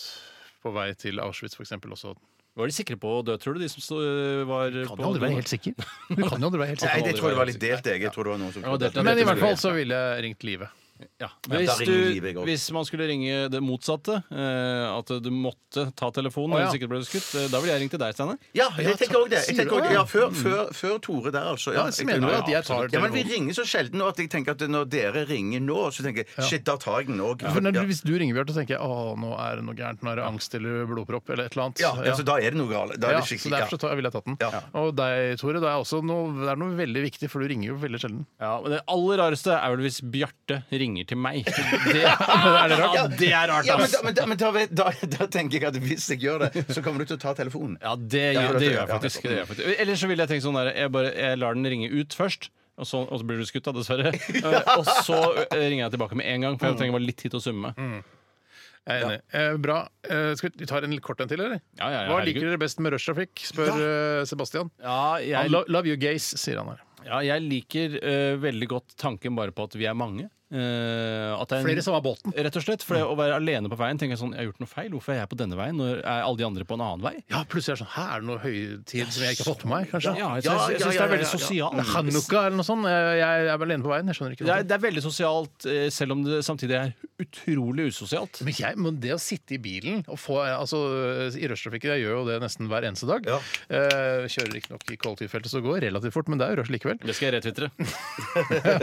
på vei til Auschwitz, f.eks. også Var de sikre på å dø, tror du, de som så, eh, var Kan på aldri være helt sikker. Du kan jo aldri være helt Nei, sikker. det tror jeg var litt delt, jeg. Jeg tror det var noen som Ja, delt, ja. Men i hvert fall så ville jeg ringt Live. Ja. da Hvis, ringer livet i du, gang. hvis man skulle ringe det motsatte, eh, at du måtte ta telefonen, Å, ja. hvis ikke ble du skutt, eh, da ville jeg ringt til deg, Steinar. Ja, jeg tenker også det. Jeg sier tenker også, du det? Mm. ja, før, før, før Tore der, altså. Ja, så mener du at jeg tar ja, men vi telefonen. ringer så sjelden nå at jeg tenker at når dere ringer nå, så tenker jeg shit, da tar jeg den òg. For når, du- Hvis du ringer Bjarte, så tenker jeg å, nå er det noe gærent. Nå er det angst eller blodpropp eller et eller annet. Ja, altså, da er det noe galt. Da Ja, er det så skikkelig Derfor ja. så tar- ville jeg tatt den. Ja. Og deg, Tore, det er også noe, det er noe veldig viktig, for du ringer jo veldig sjelden. Ja, men Det aller rareste er vel hvis Bjarte ringer til meg. Det er det rart. Ja, det er rart, Ja, men, ass. da, men, da, men da, vet- da, da tenker jeg at hvis jeg gjør det, så kommer du til å ta telefonen. Ja, det gjør, det gjør jeg faktisk. Det gjør jeg faktisk. Ellers så ville jeg tenkt sånn der jeg, bare, jeg lar den ringe ut først. Og så, og så blir du skutt, da, dessverre. Eh, Og så eh, ringer jeg tilbake med en gang, for jeg trenger bare litt tid til å summe. Jeg er enig. Eh, bra. Eh, skal vi ta en litt kort en til, eller? Ja, ja, ja, Hva herregud. liker dere best med rushtrafikk, spør eh, Sebastian. Ja, Han, jeg, lo, love you gays, sier han her. ja, jeg liker eh, veldig godt tanken bare på at vi er mange. eh, at det er en- Flere i samme båten. Rett og slett, for det å være alene på veien tenker jeg sånn, jeg har gjort noe feil. Hvorfor er jeg på denne veien når er alle de andre på en annen vei? Ja, plutselig er det sånn Her er det noe høytid som jeg ikke har fått med meg, kanskje. Ja, jeg Ja, syns jeg ja, syns det ja, er ja, veldig ja, ja. sosialt. Hanukka eller noe sånt. Jeg, jeg er alene på veien. Jeg skjønner ikke Det noe. er, det er veldig sosialt, eh, selv om det samtidig er utrolig usosialt. Men, jeg, men det å sitte i bilen og få altså, I rushtrafikken jeg gjør jo det nesten hver eneste dag. Ja. Eh, kjører ikke nok i kollektivfeltet, så det går relativt fort, men det er jo rush likevel. Det skal jeg retvitre.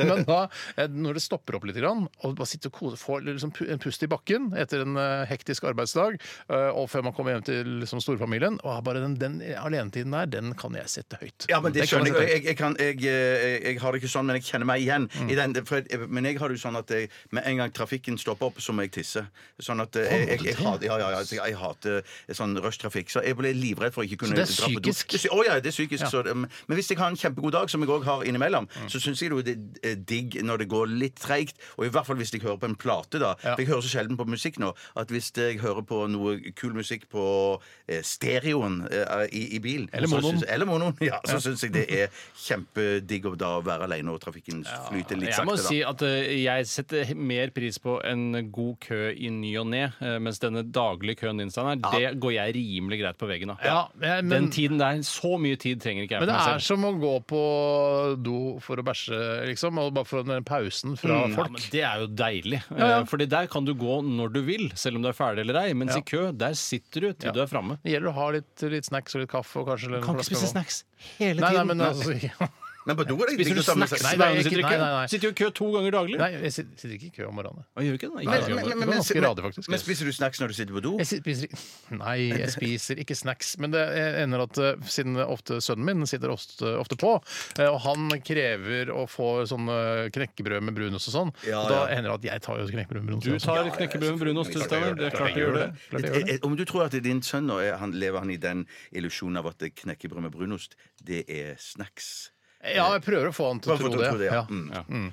men da, eh, når det stopper opp litt, grann, og bare sitte og kose, få liksom, pu- en pust i bakken etter en eh, hektisk arbeidsdag, eh, og før man kommer hjem til liksom, storfamilien og bare den, den alenetiden der, den kan jeg sette høyt. Ja, men det Den kan skjønner jeg. sette høyt. Jeg, jeg, kan, jeg, jeg, jeg har det ikke sånn, men jeg kjenner meg igjen. Mm. I den, for jeg, men jeg har det jo sånn at jeg, med en gang trafikken stopper opp, så må jeg tisse. Sånn at eh, jeg, jeg, jeg, hater- ja, ja, ja, jeg, jeg hater sånn rushtrafikk. Så jeg ble livredd for å ikke kunne Så det er dra på do. psykisk? Det er psy- Å ja, det er psykisk. Så, det- men hvis jeg har en kjempegod dag, som jeg òg har innimellom, Mm. så syns jeg jo det er digg når det går litt treigt. Og i hvert fall hvis jeg hører på en plate, da. Ja. For jeg hører så sjelden på musikk nå at hvis jeg hører på noe kul musikk på eh, stereoen eh, i, i bilen Eller så monoen. syns- eller monoen, ja. Så syns jeg det er kjempedigg å da være alene og trafikken flyter litt Jeg må sakte. si da. at eh, jeg setter mer pris på en god kø i ny og ne, eh, mens denne daglige køen din, Steinar, det går jeg rimelig greit på veggen av. Ja, men- Den tiden der, så mye tid trenger ikke jeg Men det for meg er selv. Mm. som å gå på do for å bæsje, liksom. Og bare få den pausen fra Mm, Ja, men folk. det er jo deilig. Ja, ja. Eh, Fordi der kan du gå når du vil, selv om du er ferdig eller ei. Mens Ja. i kø, der sitter du til du er framme. Det gjelder å ha litt, litt snacks og litt kaffe. Og kanskje Kan ikke spise snacks hele Nei, nei, tiden. men altså, ja. Men på do er det digg Spiser du å ta med seg- snacks Nei, hver gang nei, du ikke- sitter i kø? nei, nei, nei. Sitter jo i kø to ganger daglig. nei, jeg sit- sitter ikke i kø om morgenen. Å, Gjør du ikke det? Men- Ikke men- gjør det. Det var ganske radig, faktisk. Men spiser du snacks når du sitter på do? Jeg spiser, ikke- nei, jeg spiser ikke snacks. Men det ender at eh, siden ofte sønnen min sitter ofte, ofte på, eh, og han krever å få sånne knekkebrød med brunost og sånn, Ja, og da ja. ender det at jeg tar jo knekkebrød med brunost. Du også. tar knekkebrød med brunost, du, Steinar. Det er klart du gjør det. Klart jeg gjør Eh, det. eh, Om du tror at din sønn nå er, han lever han i den illusjonen av at knekkebrød med brunost, det er snacks. Ja, jeg prøver å få han til å Bare for å tro det. ja. Ja. Mm.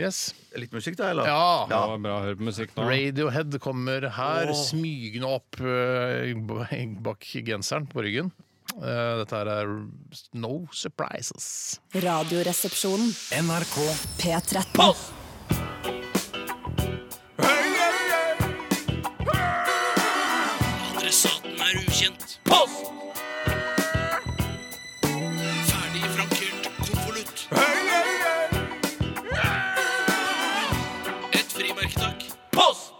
Yes. Litt musikk, da, eller? Ja. Det var bra å høre på musikk nå. Radiohead kommer her, smygende opp eh, b- bak genseren på ryggen. Eh, Dette her er No Surprises. Radioresepsjonen. NRK P13. Adressaten er ukjent. Post! Ferdig frankert konvolutt. Et frimerke, takk. Post!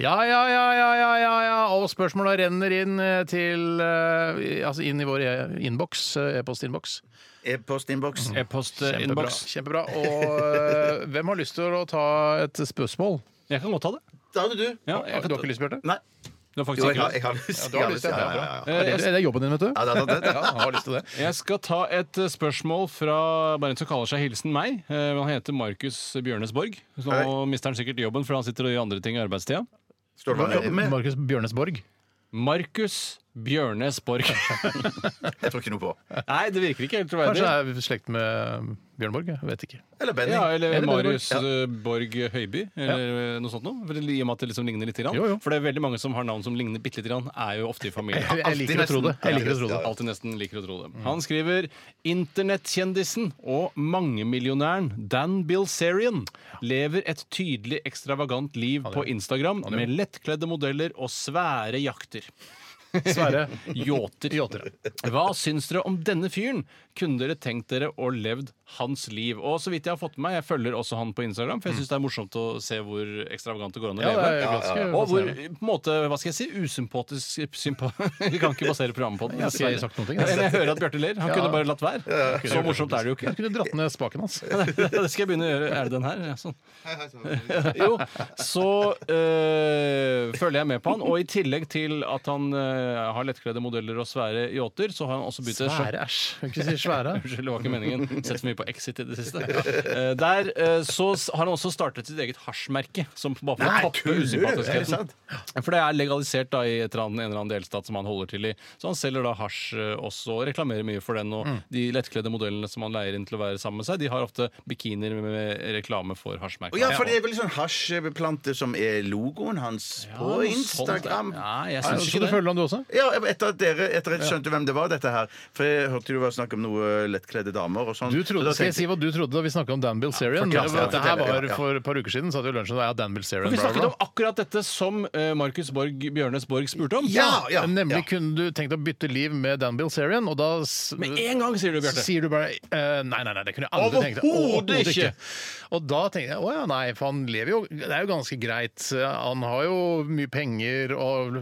Ja, ja, ja, ja, ja, ja, ja. Og spørsmåla renner inn eh, til eh, i- Altså inn i vår e- innboks, eh, e-postinnboks. E-postinnboks. Mm. Kjempebra. E-post-innboks. Kjempebra. Og eh, hvem har lyst til å ta et spørsmål? Jeg kan godt ta det. Da er det du. Ja, Du jeg har kan ta ikke lyst, Bjarte? Nei. det. er Jo, faktisk jeg ikke har, det. jeg har lyst. Ja, du har lyst, ja, ja, ja, ja, ja. ja. Det, er det, det er jobben din, vet du. Ja, da, da, da, da. Ja, han har lyst til det. Eh, Jeg skal ta et eh, spørsmål fra bare en som kaller seg Hilsen meg. Eh, men Han heter Markus Bjørnesborg. Så nå mister han sikkert jobben, for han sitter og gjør andre ting i arbeidstida. Står det hva han jobber med? Markus Bjørnesborg. Markus Bjørnesborg. Jeg tror ikke noe på. Nei, det virker ikke helt troverdig. Kanskje han er i slekt med eh, Bjørnborg? Jeg vet ikke. Eller Benny. Ja, eller Eller Marius Borg. eh, Borg Høiby, eller eh, noe sånt noe. For det- I og med at det liksom ligner litt. Grann. Jo, jo. For det er veldig mange som har navn som ligner bitte lite grann, er jo ofte i familie. Jeg, jeg liker å tro det. Jeg liker å tro det. Alltid nesten liker å tro det. Han skriver Internettkjendisen og mangemillionæren Dan Bilzerian lever et tydelig ekstravagant liv på Instagram med lettkledde modeller og svære jakter. Sverre. Yachter. Hva syns dere om denne fyren? Kunne dere tenkt dere å levd hans liv? Og så vidt jeg har fått med meg, jeg følger også han på Instagram, for jeg syns det er morsomt å se hvor ekstravagant det går an å Ja, det leve. er ganske Og hvor på en måte, hva skal jeg si, usympatisk sympa... Vi kan ikke basere programmet på den. Jeg har ikke dessverre. sagt noen ting, altså. Men jeg hører at Bjarte ler. Han kunne bare latt være. Så morsomt er det jo ikke. Jeg kunne dratt ned spaken hans. Det skal jeg begynne å gjøre. Er det den her? Ja, sånn. Jo, så øh, følger jeg med på han. Og i tillegg til at han øh, har lettkledde modeller og svære yachter, så har han også begynt å Svære, æsj. Kan ikke si svære. Unnskyld, det var ikke meningen. Sett så mye på Exit i det siste. Eh, Der eh, så s- har han også startet sitt eget hasjmerke, som bare for å tappe usympatiskheten. For det er legalisert da i et eller annet, en eller annen delstat som han holder til i. Så han selger da hasj eh, også, og reklamerer mye for den. Og de lettkledde modellene som han leier inn til å være sammen med seg, de har ofte bikinier med reklame for hasjmerket. Å ja, for det er vel sånn hasjplante som er logoen hans på noe Instagram. sånt, ja. Nei, jeg Så syns du ikke det. følger han du også? Ja, etter at dere etter at jeg skjønte hvem det var, dette her For jeg hørte det var snakk om noe noe lettkledde damer og sånn. Du Så da trodde, skal jeg tenkte- si hva du trodde da vi snakket om Dan Bilzerian? Ja, Ja, fortell, Dette her fortell, ja, var ja. for et par uker siden, så hadde vi lunsjen og ja, Dan Bilzerian. Vi bla, bla, snakket bla. om akkurat dette som eh, Markus Borg Bjørnes Borg spurte om. Ja, Ja, ja, Nemlig ja. kunne du tenkt å bytte liv med Dan Bilzerian, og da s- Med en gang, sier du, så Bjarte. sier du bare eh, Nei, nei, nei, det kunne jeg aldri tenkt meg. Overhodet ikke. Og da tenkte jeg å ja, nei, for han lever jo Det er jo ganske greit. eh, Han har jo mye penger og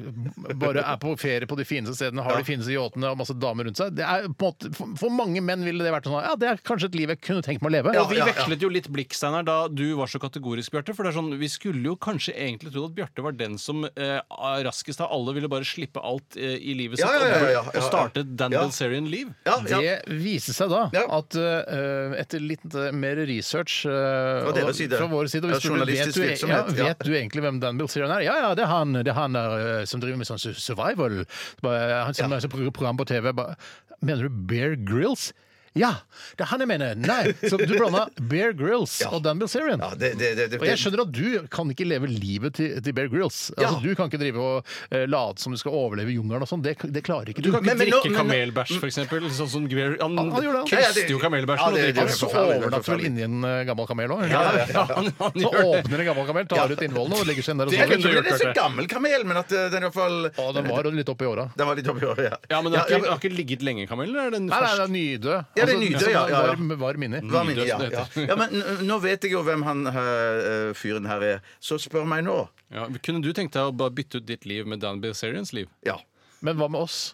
bare er på ferie på de fineste stedene, har de fineste yachtene og masse damer rundt seg. Det er på en måte, for- For mange menn ville det vært sånn ja, det er kanskje et liv jeg kunne tenkt meg å leve. Og vi vekslet jo litt blikk, Steinar, da du var så kategorisk, Bjarte. For det er sånn, vi skulle jo kanskje egentlig trodd at Bjarte var den som eh, raskest av alle ville bare slippe alt eh, i livet sitt Ja, ja, ja, ja, ja, og- ja, ja. og starte et Dan Ja. Bilzerian-liv. Ja, ja. Det viste seg da Ja. at eh, etter litt eh, mer research eh, Fra deres og- side. fra vår side og Ja, vi spurte, vet, journalistisk du, e- ja, virksomhet, ja. vet du egentlig hvem Dan Bilzerian er? Ja, ja, det er han, det er han eh, som driver med sånn su- survival. Bare, Han som er så pro- program på TV. Bare, mener du Bear Grills? Ja, det er han jeg mener. Nei, så du blanda Bear Grills og Dan Bilzerian. Ja, det, det, det, det. Og jeg skjønner at du kan ikke leve livet til, til Bear Grills. Altså, Du kan ikke drive og eh, late som du skal overleve i jungelen og sånn. Det, det klarer ikke Du kan ikke Men- men nå- drikke men- kamelbæsj, for eksempel. Sånn som Greer, han han gjorde det. kveste jo Ja, kamelbæsjen. og det- det- drikker den. Han det- sover forferdelig, overnatter vel forferdelig. inni en eh, gammel kamel òg? Ja, han- han Så gjør det. åpner en gammel kamel, tar ut innvollene og legger seg ned og Det Jeg sover. vet ikke om det er så Bjarte. gammel kamel, men at eh, den i hvert fall Å, den var jo litt opp i åra. Den var litt oppi året, ja. Ja, men den har Ja, ikke, den har ikke ligget lenge, kamelen? eller er den Nei, nei, fersk? det er nydød. Ja, det er nydød, ja, ja, Mm. ja. Varm, varm inni. Hva mener jeg? Nydøst, det ja, ja. ja, men n- nå vet jeg jo hvem han eh, fyren her er, så spør meg nå. Ja, kunne du tenkt deg å bare bytte ut ditt liv med Dan Bilzerians liv? Ja. Men hva med oss?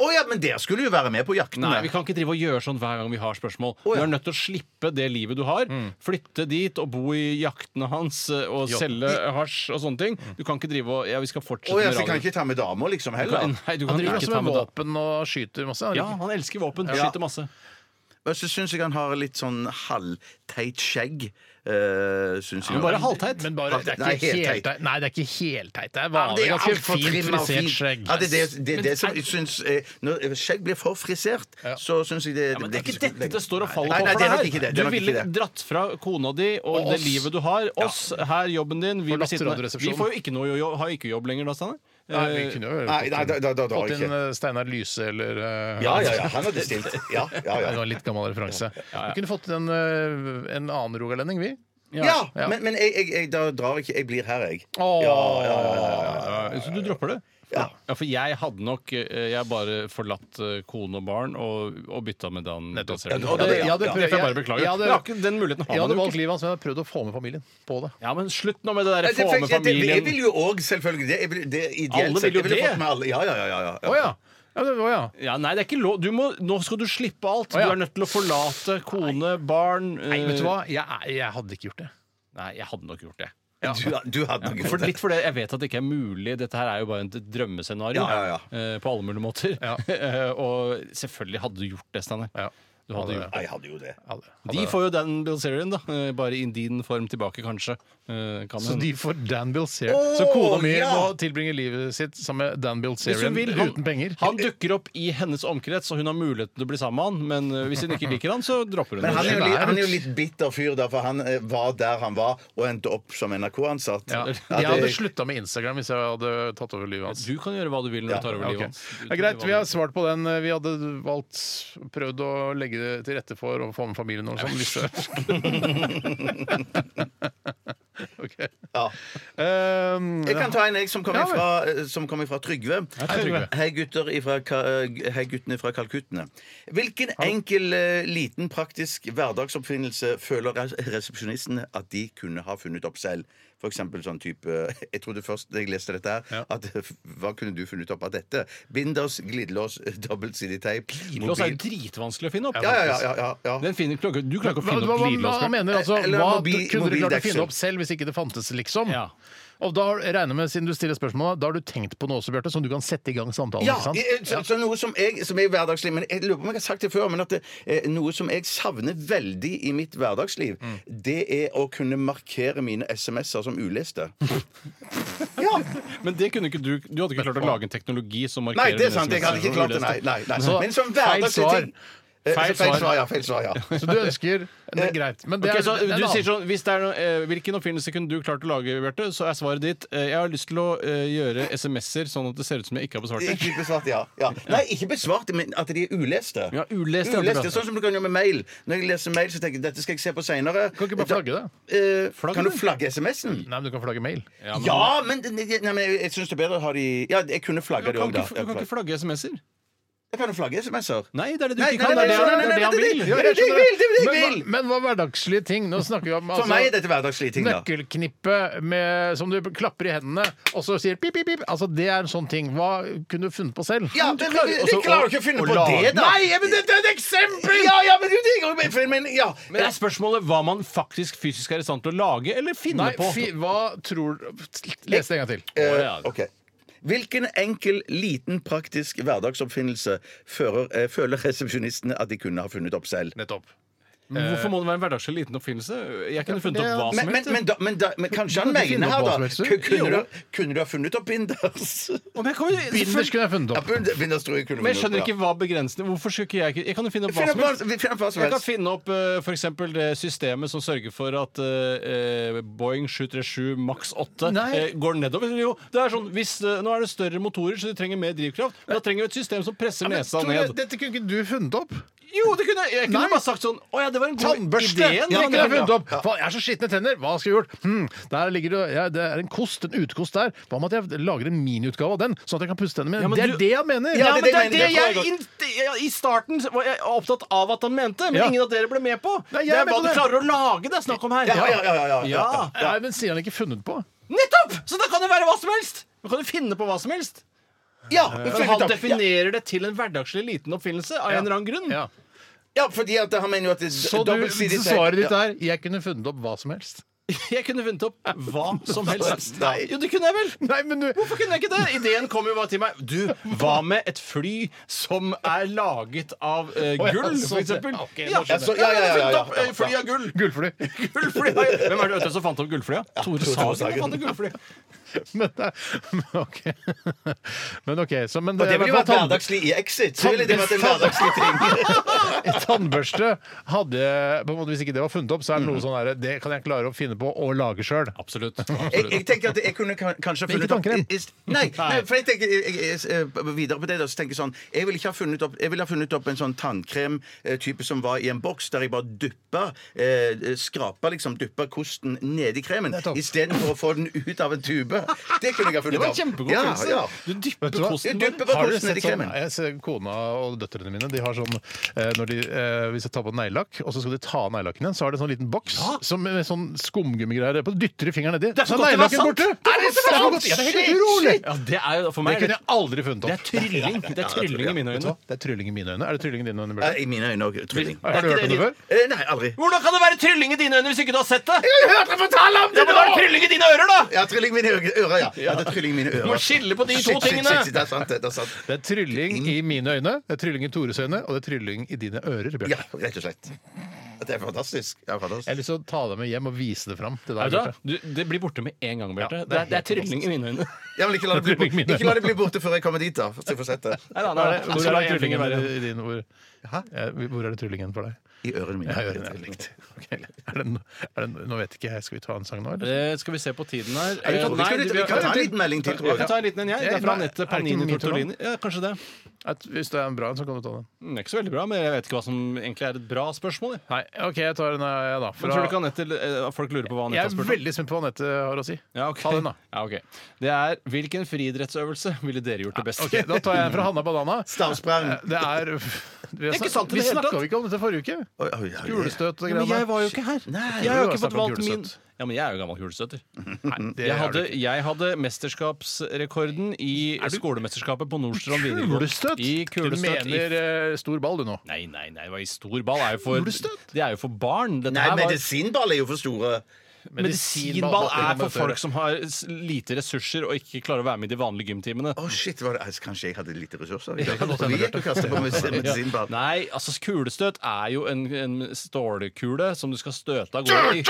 Å ja, men dere skulle jo være med på jakten. Nei, vi kan ikke drive og gjøre sånn hver gang vi har spørsmål. ja. Mm. Du er nødt til å slippe det livet du har. Flytte dit og bo i jaktene hans eh, og Jo. selge hasj og sånne ting. Du kan ikke drive og Ja, vi skal fortsette Å ja, med så jeg kan radio. ikke ta med damer, liksom, Du kan- heller. Nei, du kan Han driver ikke også ta med med da. våpen og skyter masse. han Ja, liker- han elsker våpen. Ja. Skyter masse. Og så syns jeg han har litt sånn halvteit skjegg. Uh, syns jeg. Men bare halvteit. Men bare, det er Nei, ikke helt helt teit. teit. Nei, det er ikke helt teit. Det Ja, er men vanlig, det er ganske altfor fint trimmet og frisert fint. skjegg. Ja, det er det, det, er det som jeg syns eh, Når skjegg blir for frisert, så syns jeg det Ja, men det er ikke dette det står og faller Nei, nei, på for det er deg nok her. ikke det, det er Du nok ikke ville det. dratt fra kona di og, Og det oss. livet du har. Oss, her, jobben din. Vi, Og blir sittende. Latter- og vi får jo ikke noe jo- har ikke jobb lenger da, Steinar. Nei, vi kunne jo Nei, nei, da, fått da, da, inn- da fått inn ikke. eh, Steinar Lyse eller eh, Ja, ja, ja. Han hadde stilt. Ja, ja, Nei, ja. det var en litt gammel referanse. Vi kunne fått inn en, eh, en annen rogalending, vi. Ja, men, men jeg, jeg, jeg, da drar ikke Jeg blir her, jeg. Åh. Ja, Eh, Så du dropper det? Ja. Ja, For jeg hadde nok eh, Jeg bare forlatt eh, kone og barn og, og bytta med Dan. Nettopp. Dan Serien. Ja, det- Og det- ja, det- det får jeg bare beklager. Ja, det- Men jeg har ikke- den muligheten har Jeg hadde man jo valgt ikke. livet hans, men jeg har prøvd å få med familien på det. Ja, men slutt nå med det Ja, derre det, få det, med det, jeg vil familien. jo òg, selvfølgelig. Det, jeg vil, det, er ideelt Alle sett. vil jo Jeg ville det. fått med alle. Ja, ja, ja, ja, ja. Å ja! ja, det, å, ja. Ja, nei, det er ikke lov. Du må, nå skal du slippe alt. Å, ja. Du er nødt til å forlate kone, barn eh, Nei, vet du hva? Jeg, er- jeg hadde ikke gjort det. Nei, jeg hadde nok gjort det. Du, du hadde nok For litt fordi jeg vet at det ikke er mulig. Dette her er jo bare et drømmescenario. Ja, ja, eh, På alle mulige måter. Ja. Eh, og selvfølgelig hadde du gjort det, Steinar. Ja. Du hadde gjort det. Nei, jeg hadde jo det. Hadde- De hadde- får jo Dan Bilzerian, da. eh, Bare i din form tilbake, kanskje. Eh, Kan Så hende. de får Dan Bilzerian. Å, så kona mi ja! må tilbringe livet sitt sammen med Dan Hvis Bilzerian hun vil, han, uten penger. han dukker opp i hennes omkrets, og hun har muligheten til å bli sammen med han. Men eh, hvis hun ikke liker han, så dropper hun Men han er, det. jo litt, han er jo litt bitter fyr, da, for han eh, var der han var, og endte opp som NRK-ansatt. ja. Jeg hadde slutta med Instagram hvis jeg hadde tatt over livet hans. Du kan gjøre hva du vil når du tar over Ja, ok. livet hans. Du Det er kan greit, gjøre hva vi du har vil. svart på den. Vi hadde valgt prøvd å legge det til rette for å få med familien og sånn. Hvis Ok. Ja. Um, Jeg kan ta en jeg som kommer Ja, vel. fra, eh, som kommer fra Trygve. Hei, Trygve. Hei, gutter ifra, Ka- eh, hei guttene fra Kalkuttene. Hvilken enkel, eh, liten, praktisk hverdagsoppfinnelse føler res- resepsjonisten at de kunne ha funnet opp selv? For eksempel sånn type Jeg trodde først da jeg leste dette her, at eh, hva kunne du funnet opp av dette? Binders, glidelås, dobbeltsidig teip Glidelås er jo mobil- dritvanskelig å finne opp. Ja, ja, ja. ja, ja, ja. Den finner, du klarer ikke- du klarer ikke å Hva, finne hva, opp hva, glidelås. han Bjørn. mener altså Eller Hva mobi- kunne du klart å mobildeksel. finne opp selv hvis ikke det fantes, liksom? Ja. Og da har- regner jeg med, siden du stiller spørsmålet, da har du tenkt på noe også, Bjarte, som du kan sette i gang samtalen Ja, ikke sant? eh, så, så noe som jeg som er hverdagslig, men jeg lurer på om jeg har sagt det før, men at det, eh, noe som jeg savner veldig i mitt hverdagsliv, det er å kunne markere mine SMS-er som uleste. ja! Men det kunne ikke du Du hadde ikke klart å lage en teknologi som markerer Nei, det mennesker er sant. Jeg som hadde ikke er klart det. Nei, uleste. nei, nei. Så, Men som feil hverdagslig svar. ting Eh, Feil så feil svar. svar, ja. Feil svar, ja. Så du ønsker Det er greit. Men det Ok, er, så det er du en sier annen. sånn, hvis det er noe, eh, Hvilken oppfinnelse kunne du klart å lage, Bjarte? Så er svaret ditt eh, jeg har lyst til å eh, gjøre SMS-er sånn at det ser ut som jeg ikke har besvart det. Eh, Ikke besvart, ja. ja. Nei, ikke besvart, men at de er uleste. Ja, uleste, ja, uleste det er bra. Sånn som du kan gjøre med mail. Når jeg leser mail, så tenker jeg dette skal jeg se på seinere. Kan ikke bare flagge det? Flagge kan du det? flagge SMS-en? Nei, men du kan flagge mail. Ja, men, nei, nei, men jeg, jeg syns det er bedre å ha de Ja, jeg kunne Du flagga de kan òg, da. ikke, du kan ikke flagge SMS-er. Jeg kan jo flagge SMS-er. Nei, det er det du Nei, nei, ikke kan. Det nei, er det han- nei, det er det han nei, vil. nei, nei, nei, det er det jeg vil, det er det jeg Men, vil. hva- men hva er hverdagslige ting? Nå snakker vi om altså, For meg er dette hverdagslige ting, da. Nøkkelknippet med, som du klapper i hendene, og så sier pip, pip, pip. Altså, det er en sånn ting. Hva kunne du funnet på selv? Ja, men, men, Og de så- klarer jo og- ikke å finne og på lage- det, da! Nei, ja, men dette er et eksempel! Ja, ja, men du digger jo for- men, ja. Men det er spørsmålet hva man faktisk fysisk er i stand til å lage eller finne Nei, på. fi, hva tror du Les det en gang til. Eh, ok. Hvilken enkel, liten, praktisk hverdagsoppfinnelse fører, eh, føler resepsjonistene at de kunne ha funnet opp selv? Nettopp. Men Mm, Hvorfor må det være en hverdagslig liten oppfinnelse? Jeg kunne funnet opp hva Men, som men, helst. men, da, men, da, men kanskje han Du kan finne mener opp her, hva da. som helst, du. Ku- Kunne Jo. du, kunne du ha funnet opp binders? Å, men jeg kan jo- Binders selvfølgelig- kunne jeg funnet Ja, opp. bind- binders tror jeg kunne men jeg skjønner funnet ikke opp, hva begrensende Hvorfor skulle ikke jeg Jeg kan jo finne opp ja. Finn hva som opp hva helst. som helst. Finn opp hva som Jeg kan helst. finne opp f.eks. det systemet som sørger for at eh, eh, Boeing 737 maks 8 Nei. eh, går nedover. Jo, det er sånn, hvis, eh, nå er det større motorer, så de trenger mer drivkraft. Men da trenger vi et system som presser Men, nesa Tore, ned. dette kunne ikke du funnet opp. Jo, det kunne jeg- jeg kunne Nei. bare sagt sånn Å ja, det var en god Tannbørste! idé. det kunne jeg funnet opp. Faen, jeg er så skitne tenner. Hva skal vi gjort? Hm, der ligger det, ja, det er en kost, en utekost der. Hva med at jeg lager en miniutgave av den, sånn at jeg kan pusse tennene mine? Ja, men det er du- det jeg mener! Ja, men det er mener- det tror det jeg jeg in- ja, I starten var jeg opptatt av at han mente, men Ja. ingen av dere ble med på. Nei, det jeg er er med hva på du det. klarer å lage det er snakk om her. Ja, ja, ja, ja, ja, ja. Nei, men sier han ikke funnet på? Nettopp! Så da kan det være hva som helst. Da kan du finne på hva som helst. Ja, Men han definerer det til en hverdagslig liten oppfinnelse av en eller annen grunn. Ja. ja, fordi at han mener jo at det er Så du, dobbeltsidig så svaret ditt er 'jeg kunne funnet opp hva som helst'? Jeg kunne funnet opp hva som helst. Nei. Jo, det kunne jeg vel. Nei, men du Hvorfor kunne jeg ikke det? Ideen kom jo bare til meg. Du, hva med et fly som er laget av eh, ja, gull, sånn, for eksempel? ja, ok, nå Ja, skjønner jeg. så- Ja, ja, ja, ja, funnet ja. opp, eh, Fly av gull. Gullfly. Gullfly. Hvem er det vet du, som fant opp gullflyet? Tore Sagen. som fant opp gullflyet. Men, det er- men OK. Men ok, så, men Og det ville jo vært tann- hverdagslig i Exit. Så ville det vært en hverdagslig ting. Tannbørste hadde jeg- på en måte, Hvis ikke det var funnet opp, så er det noe sånn her Det kan jeg klare å finne på og lage sjøl. Absolutt. Jeg, jeg tenker at jeg kunne kan- kanskje ha Men ikke funnet opp tannkrem. i- i- Nei, nei, for jeg tenker jeg, jeg, jeg, videre på det da, så tenker jeg sånn Jeg ville ikke ha funnet opp Jeg ville ha funnet opp en sånn tannkrem-type som var i en boks, der jeg bare duppa eh, Skrapa liksom, duppa kosten nedi kremen Nettopp. istedenfor å få den ut av en tube. Det kunne jeg ha funnet Det var en opp. kjempegod ja, følelse. ja. Du dypper Vet du hva? kosten Du bare. dypper bare Har du kosten sett nedi sånn, kremen. jeg ser Kona og døtrene mine De har sånn eh, når de, eh, Hvis jeg tar på neglelakk, og så skal de ta av neglelakken igjen, så har de en sånn liten boks som, med sånn skumgummigreier på. Dytter de fingeren nedi, Det er så så godt det var neglelakken sant! borte! Er det er sant? for godt. Ja, det er Shit, helt utrolig! shit! Ja, det er jo for Det meg er kunne det, jeg aldri funnet det opp. er trylling. Det er trylling i mine Vet du øyne. hva? Det er trylling i mine øyne. Er det trylling i dine øyne? Eh, Bjørn? I mine øyne òg, trylling. Har du ikke hørt det om det før? Eh, Nei, aldri. Hvordan kan det være trylling i dine øyne hvis ikke du har sett det? Jeg har hørt deg fortelle om Ja, men da er det trylling i dine ører, da! Ja, trylling i mine ø- ører, ja. ja det er trylling i mine ører. Du må skille på de to Shit, shit, tingene. shit, shit, Det er sant, det. det er sant. Det er trylling i mine øyne, det er trylling i Tores øyne, og det er trylling i dine ører, Bjørn. Ja, rett og slett. Det er fantastisk. Ja, Jeg har fantastisk. lyst til å ta deg med hjem og vise det fram til Vet deg. du hva? Bjarte. Du, det blir borte med en gang, Bjarte. Ja, det det, er er- det er trylling i mine øyne. Ja, men ikke la, det bli, Trylling i mine ikke la det bli borte før jeg kommer dit, da. Så jeg får sett det. Nei, nei, nei, Hvor nei. er det- Jeg Hvor skal er la det endringen tryllingen være. i dine ord? Ja, Hvor er det tryllingen for deg? I ørene mine. Ja, ørene, Det er ja. likt. Ok, Er det, no- er det, nå vet ikke jeg. Skal vi ta en sang nå, eller? Eh, Skal vi se på tiden her Eh, Vi kan, vi, Nei, skal, du- litt- vi kan ta en liten melding til, tror Jeg kan ta jeg. en liten en, jeg. Det Ja, er fra nei, Anette er det ikke Panini min tur nå? Tortolini. Ja, kanskje det. At hvis det er en bra en, så kan du ta den. Mm, Det er ikke så veldig bra, men jeg vet ikke hva som egentlig er et bra spørsmål. jeg. eh, Nei, OK, jeg tar den, jeg, da. Men Fra, tror du ikke Anette, eh, folk lurer på hva Anette jeg har er spurt om? veldig spent på hva Anette har å si. Ja, ok. Ta den, da. Ja, ok. Det er hvilken friidrettsøvelse ville dere gjort det beste? Ok, Da tar jeg en fra Hanna Banana. Eh, Stavsprang. Det er Vi, har ikke snak- sant i vi det hele snakka tatt. jo ikke om dette forrige uke. Oi, oi, oi. Kulestøt og Ja, men jeg var jo ikke her. jeg har du jo ikke har fått snakket om valgt min kulestøt. Ja, men jeg er jo gammel kulestøter. Nei, det Jeg er hadde, det ikke. jeg hadde mesterskapsrekorden i skolemesterskapet på Nordstrand videregående. Kulestøt? I Du kulestøt. i- mener eh, stor ball, du nå? Nei, nei, nei, det var i stor ball. Det er jo for, Kulestøt? det er jo for barn. Dette Nei, her var- medisinball er jo for store. Medisinball er for folk som har s- lite ressurser og ikke klarer å være med i de vanlige gymtimene. Å, shit, var det, kanskje jeg hadde lite ressurser? Jeg kan godt hende, gikk og kastet på Ja. medisinball. Nei, altså kulestøt er jo en, en stålkule som du skal støte av gårde i.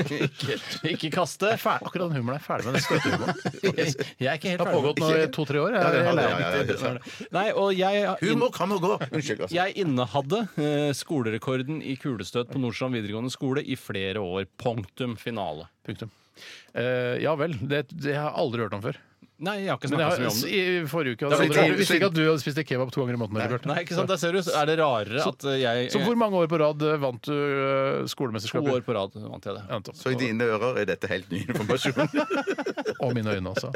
ikke, ikke kaste. Fæl, akkurat den humoren er ferdig med den støtehumoren. Jeg jeg er ikke helt ferdig Det har med pågått nå i to-tre år. Jeg, jeg, ja, jeg, ja, jeg, ja, ja. det. Nei, og jeg Humor kan og gå. Unnskyld. altså. Jeg innehadde eh, skolerekorden i kulestøt på Nordstrand videregående skole i flere år. Punktum finale. Punktum. Eh, ja vel. Det, det har jeg aldri hørt om før. Nei, jeg har ikke Men snakka så jeg mye har, om det. i i forrige uke Da hadde blir jeg det- aldri- Visste ikke at du hadde spist kebab to ganger i måneden. Nei, Nei, ikke sant, der ser du. Er det rarere at eh, jeg Så hvor mange år på rad eh, vant du eh, To skolemesterskapet? år på rad vant jeg det. Ja, nettopp. Så i dine ører er dette helt ny informasjon. Og mine øyne også.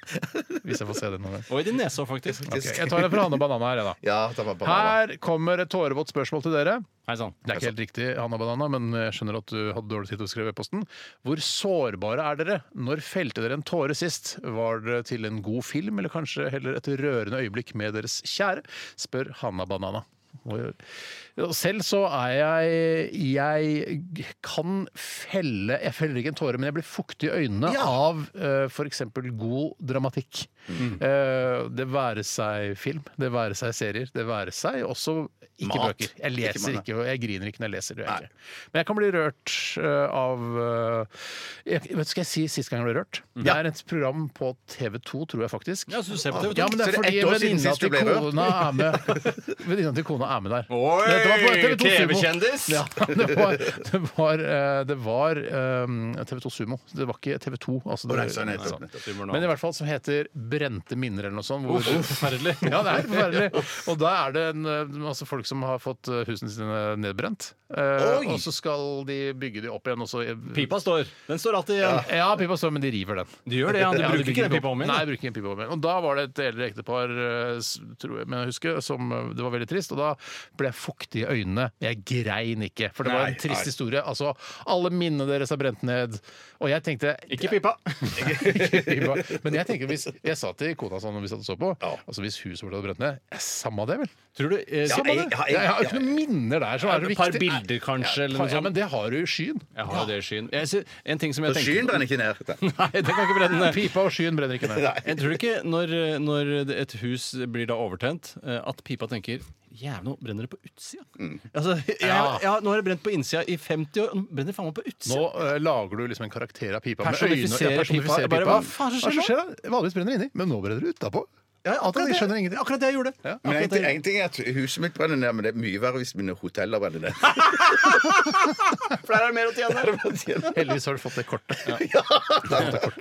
Hvis jeg får se det noen gang. Og i din nese òg, faktisk. Ok, Jeg tar en fra Hanne Banana her, jeg, da. Ja, ta meg på handa. Her kommer et tårevått spørsmål til dere. Hei sann. Det er ikke helt riktig, Hanna Banana, men jeg skjønner at du hadde dårlig tid til å skrive e-posten. Hvor sårbare er dere? Når felte dere en tåre sist? Var det til en god film, eller kanskje heller et rørende øyeblikk med deres kjære? Spør Hanna Banana. Og- og Selv så er jeg Jeg kan felle Jeg feller ikke en tåre, men jeg blir fuktig i øynene av uh, f.eks. god dramatikk. Mm. Eh, det være seg film, det være seg serier, det være seg også ikke Mat. bøker. Jeg leser Ikke mat, nei. ikke, og jeg griner ikke når jeg leser det. gjør jeg ikke. Men jeg kan bli rørt eh, av eh, jeg, vet, du, Skal jeg si sist gang jeg ble rørt? Det er et program på TV2, tror jeg faktisk. Ah, Ja, så du ser på TV2. Ja, men Så det er det er fordi ett år siden venninna sist du til ble rørt? kona er med. Venninna til kona er med der. Oi, Dette var på TV2 Sumo. TV-kjendis. Ja, det var, det var, eh, det var eh, TV2 Sumo. Det var ikke TV2. Altså, det, Å, nei, sånn, nei, nettopp, sånn. nettopp. Men i hvert fall som heter Brente minner eller noe sånt. Hvor, Forferdelig. ja, det er forferdelig. Og da er det en, eh, masse folk som har fått eh, husene sine nedbrent. Eh, Oi! og så skal de bygge de opp igjen. Og så, Pipa står. Den står alltid igjen. Ja, pipa står, men de river den. Du gjør det, ja. Du Ja, bruker bygger ikke den pipa om igjen. Nei, jeg bruker ikke en pipa om igjen. Og da var det et eldre ektepar, eh, s- tror jeg, men jeg husker, som eh, det var veldig trist. Og da ble jeg fuktig i øynene. Men jeg grein ikke, for det var en trist historie. Altså, alle minnene deres er brent ned. Og jeg tenkte Ikke pipa. Ikke pipa. Men jeg tenker hvis Jeg sa til kona sånn når vi satt og så på, altså hvis huset vårt hadde brent ned, eh, samme det, vel? Tror du eh, Ja, sier man jeg- det? ja, Jeg har jo ja, ikke noen minner der som er det Et par viktige. bilder, kanskje, eller noe Ja, men sånt. det har du i skyen. Jeg har jo det i skyen. Jeg ser- En ting som jeg Så skyen tenkte brenner ikke ned. Nei, det kan ikke brenne. Pipa og skyen brenner ikke ned. Jeg tror ikke når, eh, når et hus blir da overtent, eh, at pipa tenker Jævlig, nå brenner det på utsida. Altså, jeg, Ja. ja, nå har det brent på innsida i 50 år, og nå brenner det faen meg på Nå utsida. eh, lager du liksom en karakter av pipa med øyne. Personifiserer Ja, personifiserer pipa. Bare, hva faen er det som skjer da? Vanligvis brenner det inni, men nå brenner det utapå. Ja, akkurat det. Skjønner ingenting. Akkurat det jeg gjorde. Ja. Men en, ting- en ting er at huset mitt brenner ned, men det er mye verre hvis mine hoteller brenner ned. For der er det mer å tjene. Heldigvis har du fått det kortet.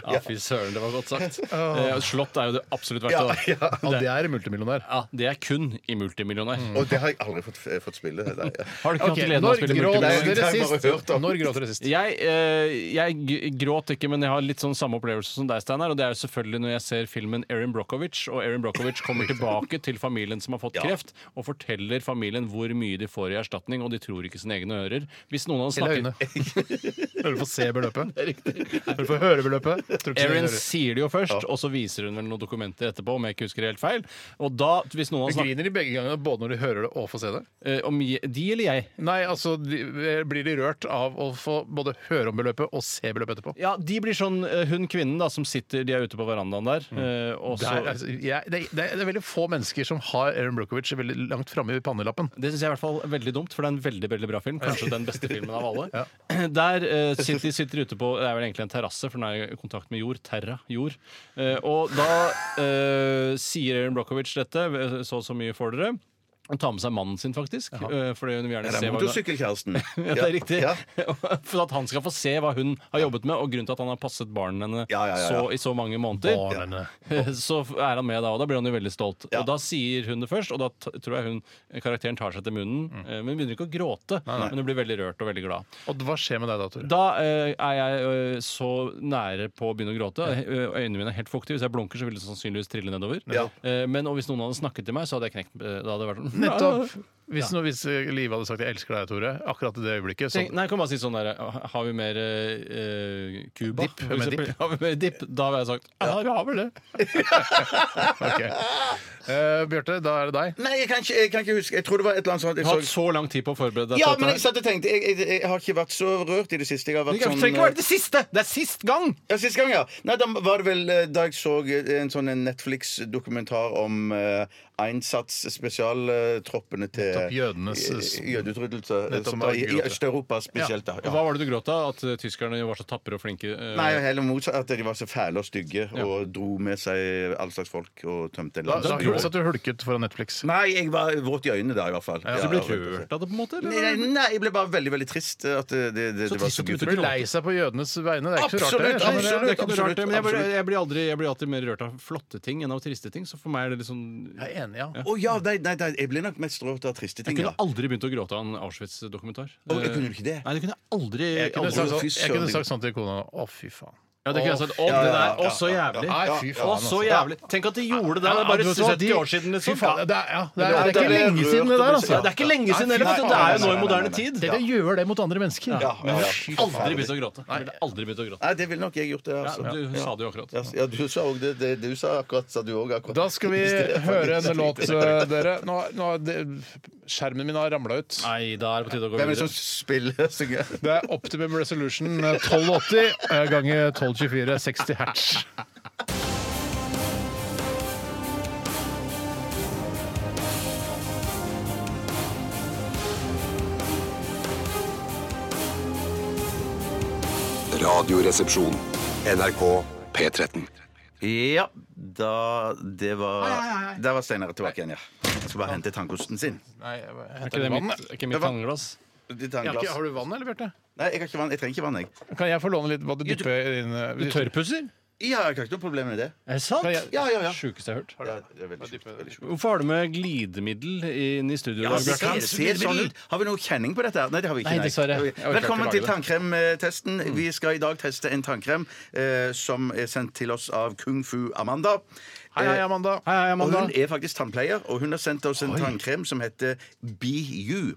Ja, fy søren, det var godt sagt. Eh, Slott er jo det absolutt verste. da. Og det er en multimillionær. Ja, det er kun i multimillionær. Og det har jeg aldri fått, eh, fått spille. Det der. Har du ikke Ok, hatt gleden av å når spille gråt Nei, multimillionær? det dere har jeg bare hørt sist? om. Når gråt dere sist? Jeg, eh, jeg g- gråt ikke, men jeg har litt sånn samme opplevelse som deg, Steinar. Og det er jo selvfølgelig når jeg ser filmen Erin Brockovich, og Erin Brockovich kommer tilbake til familien som har fått kreft, og forteller familien hvor mye de får i erstatning, og de tror ikke sine egne ører. Hvis noen hadde Eller snakket øynene? Hører du på C-beløpet? Hører du på hørebeløpet? Tror ikke Erin du hører. sier det jo først, og så viser hun vel noen dokumenter etterpå, om jeg ikke husker det helt feil. Og da, hvis noen hadde Du snakket griner de begge gangene, både når de hører det og får se det? eh, om je- de eller jeg Nei, altså de, blir de rørt av å få både høre om beløpet og se beløpet etterpå? Ja, de blir sånn eh, hun kvinnen da som sitter De er ute på verandaen der. eh, og Det så, er, altså, jeg, det, er, det er veldig få mennesker som har Erin Brockovich veldig langt framme i pannelappen. Det syns jeg i hvert fall er veldig dumt, for det er en veldig veldig bra film. Kanskje den beste filmen av alle. Der eh, sitter, de sitter ute på Det er vel egentlig en terrasse, for den er i kontakt med jord. Terra. Jord. Eh, og da eh, sier Erin Brockovich dette. eh, Så og så mye får dere. Hun tar med seg mannen sin, faktisk. eh, fordi hun vil gjerne Det se er hva hun motorsykkelkjæresten. ja, det er riktig. Ja. For at han skal få se hva hun har jobbet med, og grunnen til at han har passet barna henne Ja, ja, ja, ja. Så, i så mange måneder. Så er han med da, og da blir han jo veldig stolt. Og Da sier hun det først, og da t tror jeg hun, karakteren tar seg til munnen. eh, Men hun begynner ikke å gråte, men hun blir veldig rørt og veldig glad. Og hva skjer med deg da, Tore? Da eh, er jeg eh, så nære på å begynne å gråte. Eh, Øynene mine er helt fuktige. Hvis jeg blunker, så vil det sannsynligvis trille nedover. Ja. Eh, Men og hvis noen hadde snakket til meg, så hadde jeg knekt eh, Da hadde jeg vært sånn Nettopp. Hvis, noe, hvis eh, Live hadde sagt 'jeg elsker deg', Tore, akkurat i det øyeblikket Tenk, sånn, nei, jeg kan bare si sånn der Har vi mer eh, Cuba? Dipp, har vi mer For eksempel. dipp? Har vi mer dipp? Da har jeg sagt ja, vi har vel det. ok. Eh, Bjarte, da er det deg. Nei, jeg kan, ikke, jeg kan ikke huske. Jeg tror det var et eller annet sånt Du jeg har så- hatt så lang tid på å forberede deg Ja, til men jeg dette. her. satt og tenkte jeg, jeg, jeg har ikke vært så rørt i det siste. Jeg har Du vært kan- sånn trenger ikke være det siste! Det er sist gang! Ja, Sist gang, ja. Nei, Da var det vel eh, da jeg så en sånn en Netflix-dokumentar om uh, Einsatz-spesialtroppene eh, til Nettopp jødenes- eh, jødeutryddelse. eh, Nettopp Som da var i, gråt i jeg. Øst-Europa spesielt, da. Og Hva var det du gråt av? At eh, tyskerne var så tapre og flinke? eh, Nei, heller motsatt. At de var så fæle og stygge og dro med seg all slags folk og tømte Da, da, landet. hørtes det at du hulket foran Netflix. Nei, jeg var våt i øynene da, i hvert fall. Så du ble Ja, rett og slett. rørt av det, på en måte? eller? Nei, nei, nei, jeg ble bare veldig veldig trist. eh, At det, det, det, Så det var trist så at du Du gutt. ikke blir lei seg på jødenes vegne. Det er ikke så Absolutt, rart. Nei, det er ikke Det, noe absolutt, rart, det, men jeg, bare, absolutt. jeg, blir aldri, jeg blir alltid mer rørt av flotte ting enn av triste ting. Så for meg er det litt sånn jeg er enig, ja. Å ja, nei, nei, nei, jeg ble nok mest rørt av triste Jeg ting. kunne Ja. aldri begynt å gråte av en Auschwitz-dokumentar. Eh, Å, jeg kunne ikke det. Nei, det kunne jeg aldri. Jeg kunne aldri. sagt fy sånn, jeg kunne søren. sagt sånn til kona. Å, fy faen. Ja, det kunne jeg sagt. Å, ja, det ja, der. Å, ja, så jævlig. Nei, fy Å, så faen, altså. jævlig. Tenk at de gjorde det. Det er Ja, bare du så 70 de- år siden. Fy Liksom. faen, det, er, ja, det det, er, det er ble ikke rørt lenge siden det der, og altså. Ja, det er ikke lenge siden heller. vet du. Det er jo nå i moderne tid. Dere gjør det mot andre Ja, mennesker. men ja, jeg har aldri begynt å gråte. Jeg ville aldri begynt å gråte. Nei, det ville nok jeg gjort, det. Ja, Altså. du sa det jo akkurat. Ja, ja, du sa òg det, det. Du sa akkurat, sa du òg akkurat. Da skal vi Det er faktisk- høre en låt, eh, dere. Nå, nå, har det, skjermen min har ramla ut. Nei, da er det på tide å gå Hvem er det som videre. spiller og synger? Det er Optimum Resolution eh, 1280 eh, ganger 1224 60 hertz. Radioresepsjon. NRK P13. Ja, da Det var Der var Steinar tilbake igjen, ja. Skal bare hente tannkosten sin. Er ikke det mitt, er ikke mitt tannglass? Ditt Jeg har ikke- tannglass. Har du vann, eller, Bjarte? Nei, jeg har ikke vann. Jeg trenger ikke vann, jeg. Kan jeg få låne litt hva du dypper inn? eh, hvis- Tørrpusser? Ja, jeg har ikke noe problem med det. Er det sant? Kan jeg- Ja, ja, ja. Sjukeste jeg har hørt. Ja, det er veldig sjukt, veldig sjukt. Hvorfor har du med glidemiddel inn i studio? i dag, Det Bjarte? ser- ser sånn ut. Har vi noe kjenning på dette? her? Nei, det har vi ikke. Nei, dessverre. Jeg orker Velkommen ikke til lage det. tannkremtesten. Mm. Vi skal i dag teste en tannkrem eh, som er sendt til oss av Kung Fu Amanda. Hei, hei, Eh, Amanda. Hei, hei, Amanda. Og hun er faktisk tannpleier, og hun har sendt oss en tannkrem som heter BU.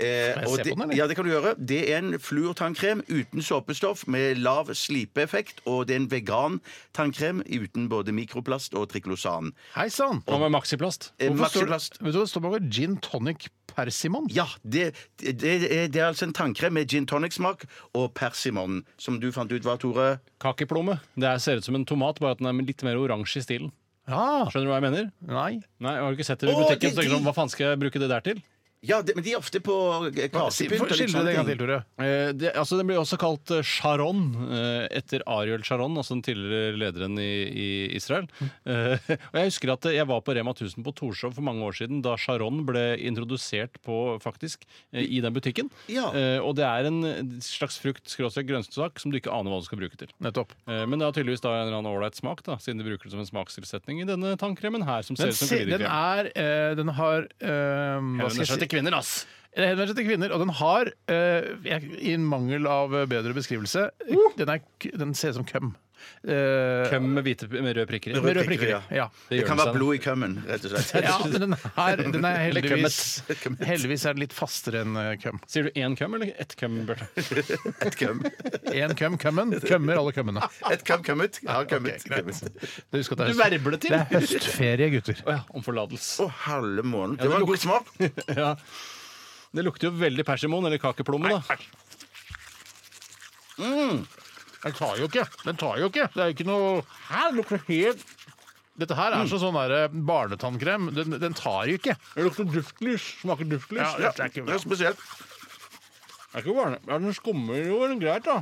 Eh, jeg og se på det, den, eller? ja, det kan du gjøre. Det er en fluortannkrem uten såpestoff med lav slipeeffekt, og det er en vegan tannkrem uten både mikroplast og triklosan. Hei sann! Hva med maxiplast? Eh, Hvorfor står- maxiplast. Vet du hva det står bak? Gin tonic persimon. Ja, det, det, det, er, det er altså en tannkrem med gin tonic-smak og persimon, som du fant ut var, Tore. Kakeplomme. Det er, ser ut som en tomat, bare at den er litt mer oransje i stilen. Ja. Skjønner du hva jeg mener? Nei. Nei, Har du ikke sett det i Å, butikken? det så er tenker du sånn, de! Hva faen skal jeg bruke det der til? Ja, det, men de er ofte på eh, Skildre kasepynt og det litt en sånne gang til, ting. Tore. Eh, det, altså, den blir også kalt eh, Sharon, eh, etter Ariel Sharon, altså den tidligere lederen i, i Israel. Eh, og Jeg husker at eh, jeg var på Rema 1000 på Torshov for mange år siden, da Sharon ble introdusert på, faktisk, eh, i den butikken. Ja. Eh, og det er en slags frukt, skråstrek grønnsak, som du ikke aner hva du skal bruke til. Nettopp. Eh, Men det har tydeligvis da en eller annen ålreit smak, da, siden de bruker det som en smakstilsetning i denne tannkremen her. som ser Den, ut som se, den glidekrem. er eh, Den har eh, hva skal Henvender jeg si? seg til kvinner, ass! Den henvender seg til kvinner, og den har, eh, jeg- i mangel av eh, bedre beskrivelse, den, er, k- den ser ut som køm. Eh, Køm med, hvite, med røde prikker i. Med røde prikker, prikker, ja. i. ja. Det Det gjør kan den være seg. blod i kømmen, rett og slett. sånn. Ja, men den her den er heldigvis, kømmet. heldigvis er den litt fastere enn eh, køm. Sier du én køm eller ett køm, Bjarte? Et køm. Én køm, kømmen, kømmer alle kømmene. Et køm kømmet. Ja, kømmet. Ok, greit. kømmet. Det, husk at det, Du er verbler høst, til. det er høstferie, gutter. Å ja, om forlatelse. Å, halve måneden. Det var en god smak. Ja. Det lukter jo veldig persimon, eller kakeplomme, da. Den tar jo ikke. Den tar jo ikke. Det er jo ikke noe altså, Her lukter det helt Dette her er så sånn der, eh, barnetannkrem. Den, den tar jo ikke. Det lukter duftlys. Smaker duftlys. Ja, det er ikke Det bra. er spesielt. Er ikke varme. Ja, den skummer jo den greit, da.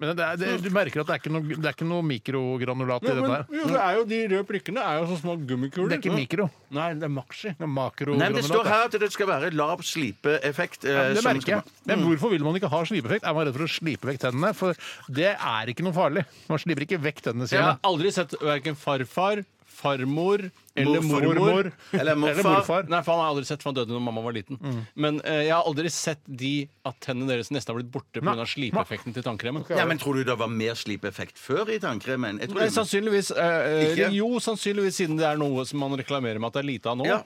Men det er, det, du merker at det er ikke noe, det er ikke noe mikrogranulat i Ja, den men, der. jo, det er jo de røde prikkene er jo så små gummikuler. Det er ikke mikro. Nei, det er maxi. Det er makrogranulat. Nei, men det står her at det skal være lav slipeeffekt. eh, Det som merker skal- jeg. Men hvorfor vil man ikke ha slipeeffekt? Er man redd for å slipe vekk tennene? For det er ikke noe farlig. Man sliper ikke vekk tennene Jeg sine. har aldri sett verken farfar, farmor eller Morfar. mormor. Mormor. Eller Eller morfar. morfar. Nei, for han har jeg aldri sett, for han døde når mamma var liten. Men eh, jeg har aldri sett de at tennene deres nesten har blitt borte pga. slipeeffekten til tannkremen. Ja, men tror du det var mer slipeeffekt før i tannkremen? Jeg tror Nei, det- sannsynligvis eh, eh, Ikke? Jo, sannsynligvis siden det er noe som man reklamerer med at det er lite av nå. Ja.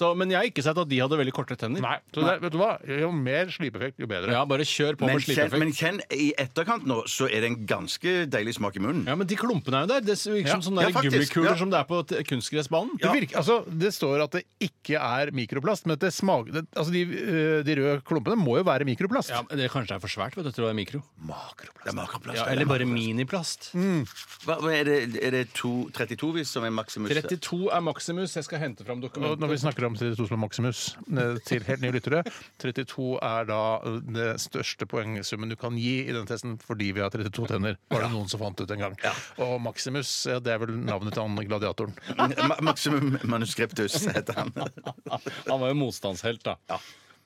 Så, men jeg har ikke sett at de hadde veldig korte tenner. Nei. Så det, vet du hva? Jo mer slipeeffekt, jo bedre. Ja, bare kjør på Men med kjenn, slipeeffekt. men kjenn, i etterkant nå, så er det en ganske deilig smak i munnen. Ja, men de klumpene er jo der. Det virker som sånne Ja, der faktisk, gummikuler ja. som det er på t- kunstgressbanen. Det, virker, altså, det står at det ikke er mikroplast, men at det smaker det, altså de, øh, de røde klumpene må jo være mikroplast. Ja, men det Kanskje det er for svært vet du, til å være mikro. Det er Mm. makroplast. Ja, eller bare miniplast. Hva, hva er det, er det to, 32 hvis som er maksimus? 32 er maksimus. Jeg skal hente fram Og når vi dokumentet. snakker om 32 som er maksimus eh, til helt nye lyttere 32 er da eh, det største poengsummen du kan gi i den testen fordi vi har 32 tenner, var det noen som fant ut en gang. Og maximus, eh, det er vel navnet til han gladiatoren. Ma maximum manuskriptus heter han. Han var jo motstandshelt, da.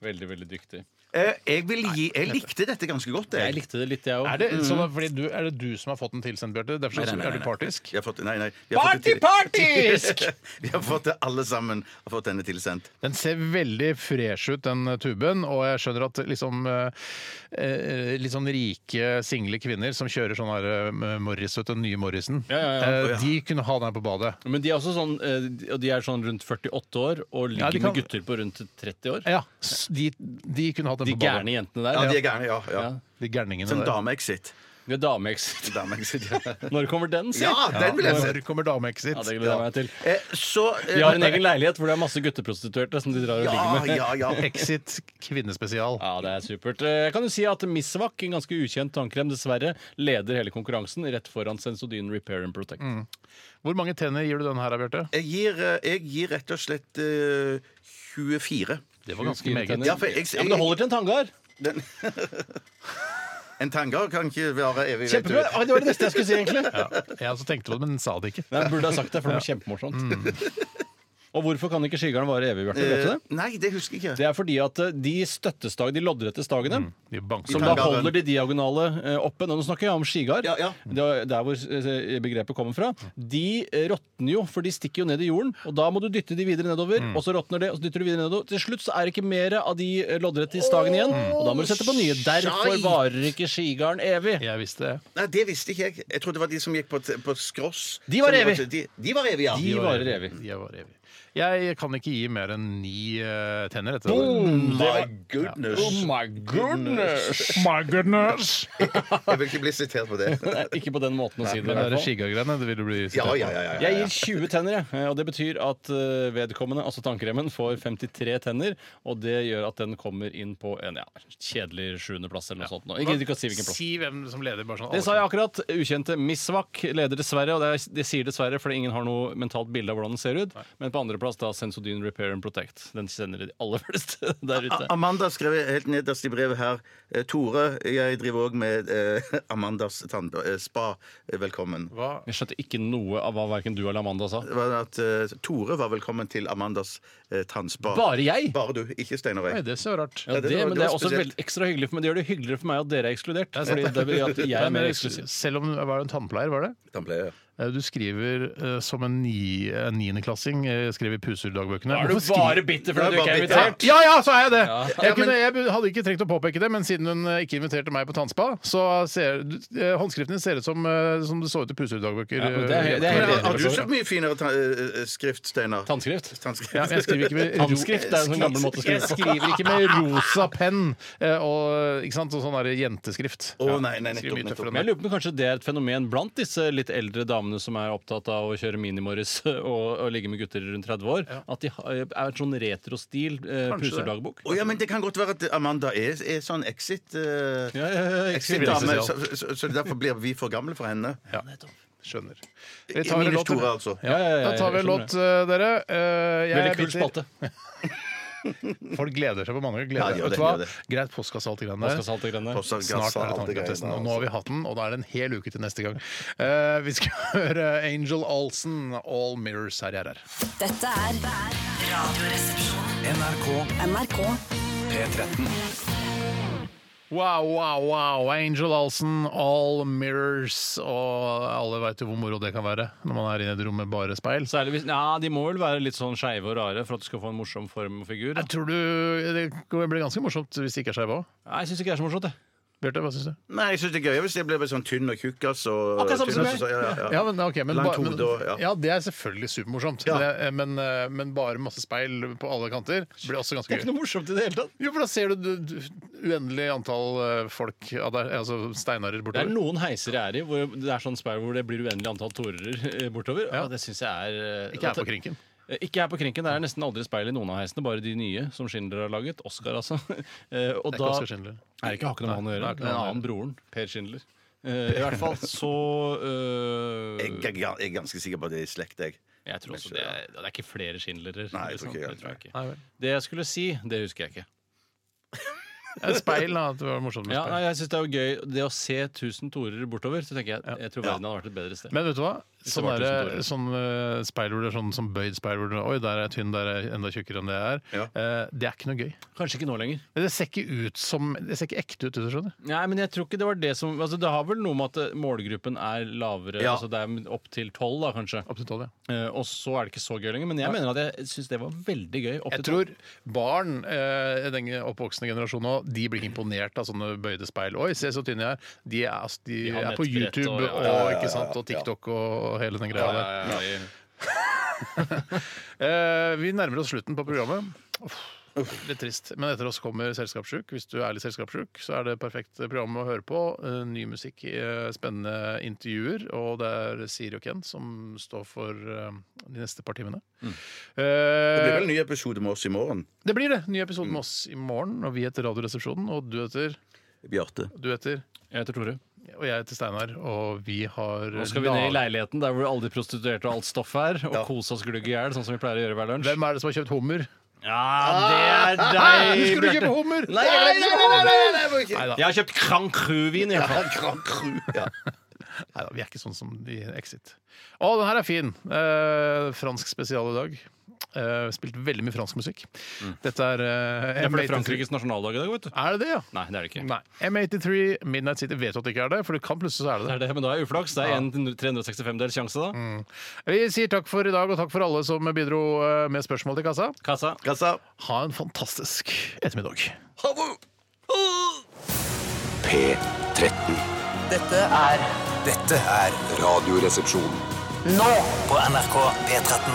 Veldig, veldig dyktig. Eh, Jeg, vil gi, jeg likte dette ganske godt. Jeg likte det litt, jeg Er òg. det, sånn at- fordi du, er det du som har fått den tilsendt, Bjarte? Derfor så- er du partisk? Jeg har fått, nei, nei, vi har fått det til- partisk! Vi har fått det alle sammen. Har fått denne tilsendt. Den ser veldig fresh ut, den eh, tuben. Og jeg skjønner at liksom, eh, eh, litt sånn rike, single kvinner som kjører sånn her eh, Morris, vet du, den nye Morrisen, Ja, ja, ja. eh, de kunne ha den her på badet. Men de er også sånn, eh, de- og de er sånn rundt 48 år og ligger Ja, de kan- med gutter på rundt 30 år. Ja, s- de, de kunne hatt den De på gærne badet. jentene der. Ja, de er gærne, ja. ja. Ja. De gærningene Som der. dameexit. De er dameexit. Dameexit, ja. Når kommer den, si? Ja, den vil jeg se. Når kommer dameexit? Ja, det gleder jeg meg til. Eh, Så eh, De har en egen leilighet hvor det er masse gutteprostituerte som de drar og ligger Ja, med. ja, ja. Exit kvinnespesial. Ja, det er supert. Eh, Jeg kan jo si at Misvak, en ganske ukjent tannkrem, dessverre leder hele konkurransen rett foran Sensodyne Repair and Protect. Mm. Hvor mange tenner gir du den her, Bjarte? Jeg gir, eh, jeg gir rett og slett eh, 24. Det var ganske meget. Tenner. Ja, for jeg- Ja, men det holder til en tanngard. Den, en tangar kan ikke vare evig. vet du. Kjempebra. Ah, Det var det neste jeg skulle si, egentlig. Ja, jeg også tenkte på det, men sa det ikke. Nei, jeg burde ha sagt det, for det var kjempemorsomt. Mm. Og hvorfor kan ikke skigaren vare evig, Bjarte? Vet du det? Eh, Nei, det husker jeg ikke. Det er fordi at eh, de støttestag, de loddrette stagene De banker. Som da holder de diagonale eh, oppe. Nå snakker jeg om skigard. Ja, ja. Det er Der hvor eh, begrepet kommer fra. De eh, råtner jo, for de stikker jo ned i jorden. Og da må du dytte de videre nedover, og så råtner det, og så dytter du videre nedover. Til slutt så er det ikke mer av de eh, loddrette i stagen igjen, og da må du sette på nye. Derfor shite. varer ikke skigarden evig. Jeg visste det. Nei, det visste ikke jeg. Jeg trodde det var de som gikk på, t- på skross. De var Som- evig. De, de var evig, ja. De varer evig. Jeg, var evig. jeg kan ikke gi mer enn ni eh, tenner etter Oh My goodness. Oh my goodness! My goodness! Jeg vil ikke bli sitert på det. Nei, ikke på den måten å si det. i Men det hvert er fall. skigagreiene det vil du bli Ja, ja, ja. ja, ja. Jeg gir 20 tenner, jeg. Og det betyr at eh, vedkommende, altså tannkremen, får 53 tenner. Og det gjør at den kommer inn på en ja, kjedelig sjuendeplass eller noe sånt. nå. Jeg gidder ikke å si hvilken plass. Si hvem som leder. Bare sånn Det sa jeg akkurat. Ukjente Misvak leder dessverre, og det, er, det sier dessverre fordi ingen har noe mentalt bilde av hvordan den ser ut. Men på andreplass da Sensodyne Repair and Protect. Den sender de aller fleste der A- ute. Amanda skrev helt nederst i brevet her. eh, Tore, jeg driver òg med eh, Amandas tann- eh, spa. Velkommen. Hva? Jeg skjønte ikke noe av hva verken du eller Amanda sa. Det var at eh, Tore var velkommen til Amandas eh, tannspa. Bare jeg? Bare du, ikke Steinar Nei, Røe. det ser rart. Ja, det det, var- men det det var er også spesielt. veldig ekstra hyggelig for meg. Det gjør det hyggeligere for meg at dere er ekskludert. Fordi det betyr at jeg er mer eksklusiv. eh, Selv om Hva er det, en tannpleier, var det? Tannpleier. Eh, Du skriver eh, som en ni- en niendeklassing, eh, skrev i Pusur-dagbøkene. Er du Hvorfor bare bitter Nei, fordi du ikke bare er bitter. invitert? Ja, ja, så er jeg det! Jeg, Ja, men- kunne, jeg hadde ikke trengt å påpeke det, men siden hun eh, ikke inviterte meg på tannspa, så ser du- eh, håndskriften din ser ut som, eh, som det så ut i Pusur-dagbøker. Ja, men det er helt- det er Men helt eh, har- Har du for så så mye finere ta eh, eh, skrift, Steinar? Tannskrift. Tannskrift. Ja, men jeg skriver ikke med ro- Tannskrift er en sånn gammel måte å skrive Jeg på. skriver ikke med rosa penn eh, og, ikke sant, og sånn der jenteskrift. Å, nei, nei, Jeg skriver mye nettopp, Men jeg tøffere enn det. lurer på om kanskje det er et fenomen blant disse litt eldre damene som er opptatt av å kjøre minimorris og, og ligge med gutter rundt 30 år. At de har- er en sånn retrostil eh, Kanskje det. puserdagbok. Å ja, men det kan godt være at Amanda er, er sånn exit. eh, Ja, ja, ja, Exit-dame, Sivilsosial. så, så, så derfor blir vi for gamle for henne. Skjønner. Vi tar en Minus låt, eller? Tore, altså. Ja, ja, ja, Da tar vi jeg skjønner en låt, eh, dere. Eh, jeg Veldig er kul bitter. spalte. Folk gleder seg på mandag. Ja, Gleder. de gjør Vet det, du hva? de gjør det. Greit, postkasse alt det greiene der. Postkasse, alt det greiene. Post- Snart er det alt det greiene tanketesten. der, altså. Og nå har vi hatt den, og da er det en hel uke til neste gang. Eh, vi skal høre Angel Olsen, 'All Mirrors' her i RR. Dette er Radioresepsjonen. NRK NRK. P13. Wow, wow, wow. Angel Olsen, 'All Mirrors'. Og alle veit jo hvor moro det kan være når man er inne i et rom med bare speil. Særlig hvis, ja, de må vel være litt sånn skeive og rare for at du skal få en morsom form og figur. da. Jeg tror du Det blir ganske morsomt hvis det ikke er skeive òg. Nei, jeg syns ikke det er så morsomt, jeg. Bjarte, hva syns du? altså. Nei, jeg syns det er gøyere hvis jeg blir bare sånn tynn og tjukk. Altså, Akkurat samme Tynn, som altså, meg. så- ja, ja, ja. Ja, men, ok, men, Langt ba- men, hode og ja. ja, det er selvfølgelig supermorsomt. Ja. Det er- Men, eh, men bare masse speil på alle kanter blir også ganske Det er ikke gøy. noe morsomt i det hele tatt. Jo, for da ser du, du, du uendelig antall eh, folk av deg, altså steinarer Det er bortover. noen heiser jeg er i hvor det er sånn speil hvor det blir uendelig antall tårer eh, bortover. Og det syns jeg er eh, Ikke her på at- krinken. Eh, Ikke her på krinken. Det er nesten aldri speil i noen av heisene, bare de nye som Schindler har laget. Oscar, altså. Eh, Og Det da er ikke Oskar Schindler. Nei, ikke har ikke noe med han å det gjøre. har ikke Det er noe en med han annen broren. Per Schindler. Eh, I hvert fall så eh, Jeg, jeg, jeg er ganske sikker på at det er i slekt, jeg. Jeg tror også det er, det er ikke flere Schindlerer. liksom. Nei, jeg tror ikke jeg- det, tror jeg ikke. Nei vel. det jeg skulle si, det husker jeg ikke. Ja, Eh, Speil, da. At det var morsomt med Ja, nei, speil. jeg synes Det er jo gøy Det å se 1000 torer bortover, så tenker jeg jeg tror verden hadde vært et bedre sted. Men vet du hva? Hvis det Sånn, var tusen der, tårer. sånn eh, speil hvor det er sånn, sånn bøyd speil hvor det er, Oi, der er jeg tynn, der er jeg enda tjukkere enn det jeg er. Eh, det er ikke noe gøy. Kanskje ikke nå lenger. Det ser ikke ut som Det ser ikke ekte ut, hvis du skjønner. Nei, men jeg tror ikke det var det som altså, Det har vel noe med at eh, målgruppen er lavere. Ja. Altså, det er opp til tolv, da, kanskje. Opp til tolv, ja. Eh, og så er det ikke så gøy lenger. Men jeg mener at jeg syns det var veldig gøy. Opp Jeg til tror barn eh, i den oppvoksende generasjonen nå, de blir ikke imponert av sånne bøyde speil. Oi, se så tynn jeg er. De er, ass, de De har er på nettbrett YouTube og- og, ja, ja, ja, ikke sant, og TikTok og hele den greia der. tolv. Ja, Eh, vi nærmer oss slutten på programmet. Uff, Litt trist. Men etter oss kommer Selskapssjuk. Hvis du er litt selskapssjuk, så er det perfekt program å høre på. Eh, Ny musikk, eh, spennende intervjuer, og det er Siri og Ken som står for eh, de neste par timene. Det blir Eh, vel en ny episode med oss i morgen. Det blir det. Ny episode med oss i morgen. Og vi heter Radioresepsjonen. Og du heter Bjarte. Du heter Jeg heter Tore. Og jeg heter Steinar. Og vi har Nå skal vi ned i lag- leiligheten der hvor alle de prostituerte og alt stoffet er, og kose oss glugg i hjel, sånn som vi pleier å gjøre hver lunsj. Hvem er det som har kjøpt hummer? Ja, det er Nei, deg, Husker du Bjarte. kjøpe hummer? Nei, jeg vet ikke hva det er. Neida. Jeg har kjøpt Krankru-vin. jeg. Neida, vi er ikke sånn som i Exit. Å, den her er fin! Eh, fransk spesial i dag. Eh, spilt veldig mye fransk musikk. Dette er eh, Mm. Ja, for det er M83. Frankrikes nasjonaldag i dag, vet du. Er det det, ja? Nei, det er det ikke. Nei. M83, Midnight City vet du at det ikke er det, for det kan plutselig så er det det. Det er det, men da er jeg uflaks. Det er en 365-del sjanse, da. Vi sier takk for i dag, og takk for alle som bidro eh, med spørsmål til kassa. Kassa. Kassa. Ha en fantastisk ettermiddag. P13. Dette er Dette er Radioresepsjon. nå På NRK P13.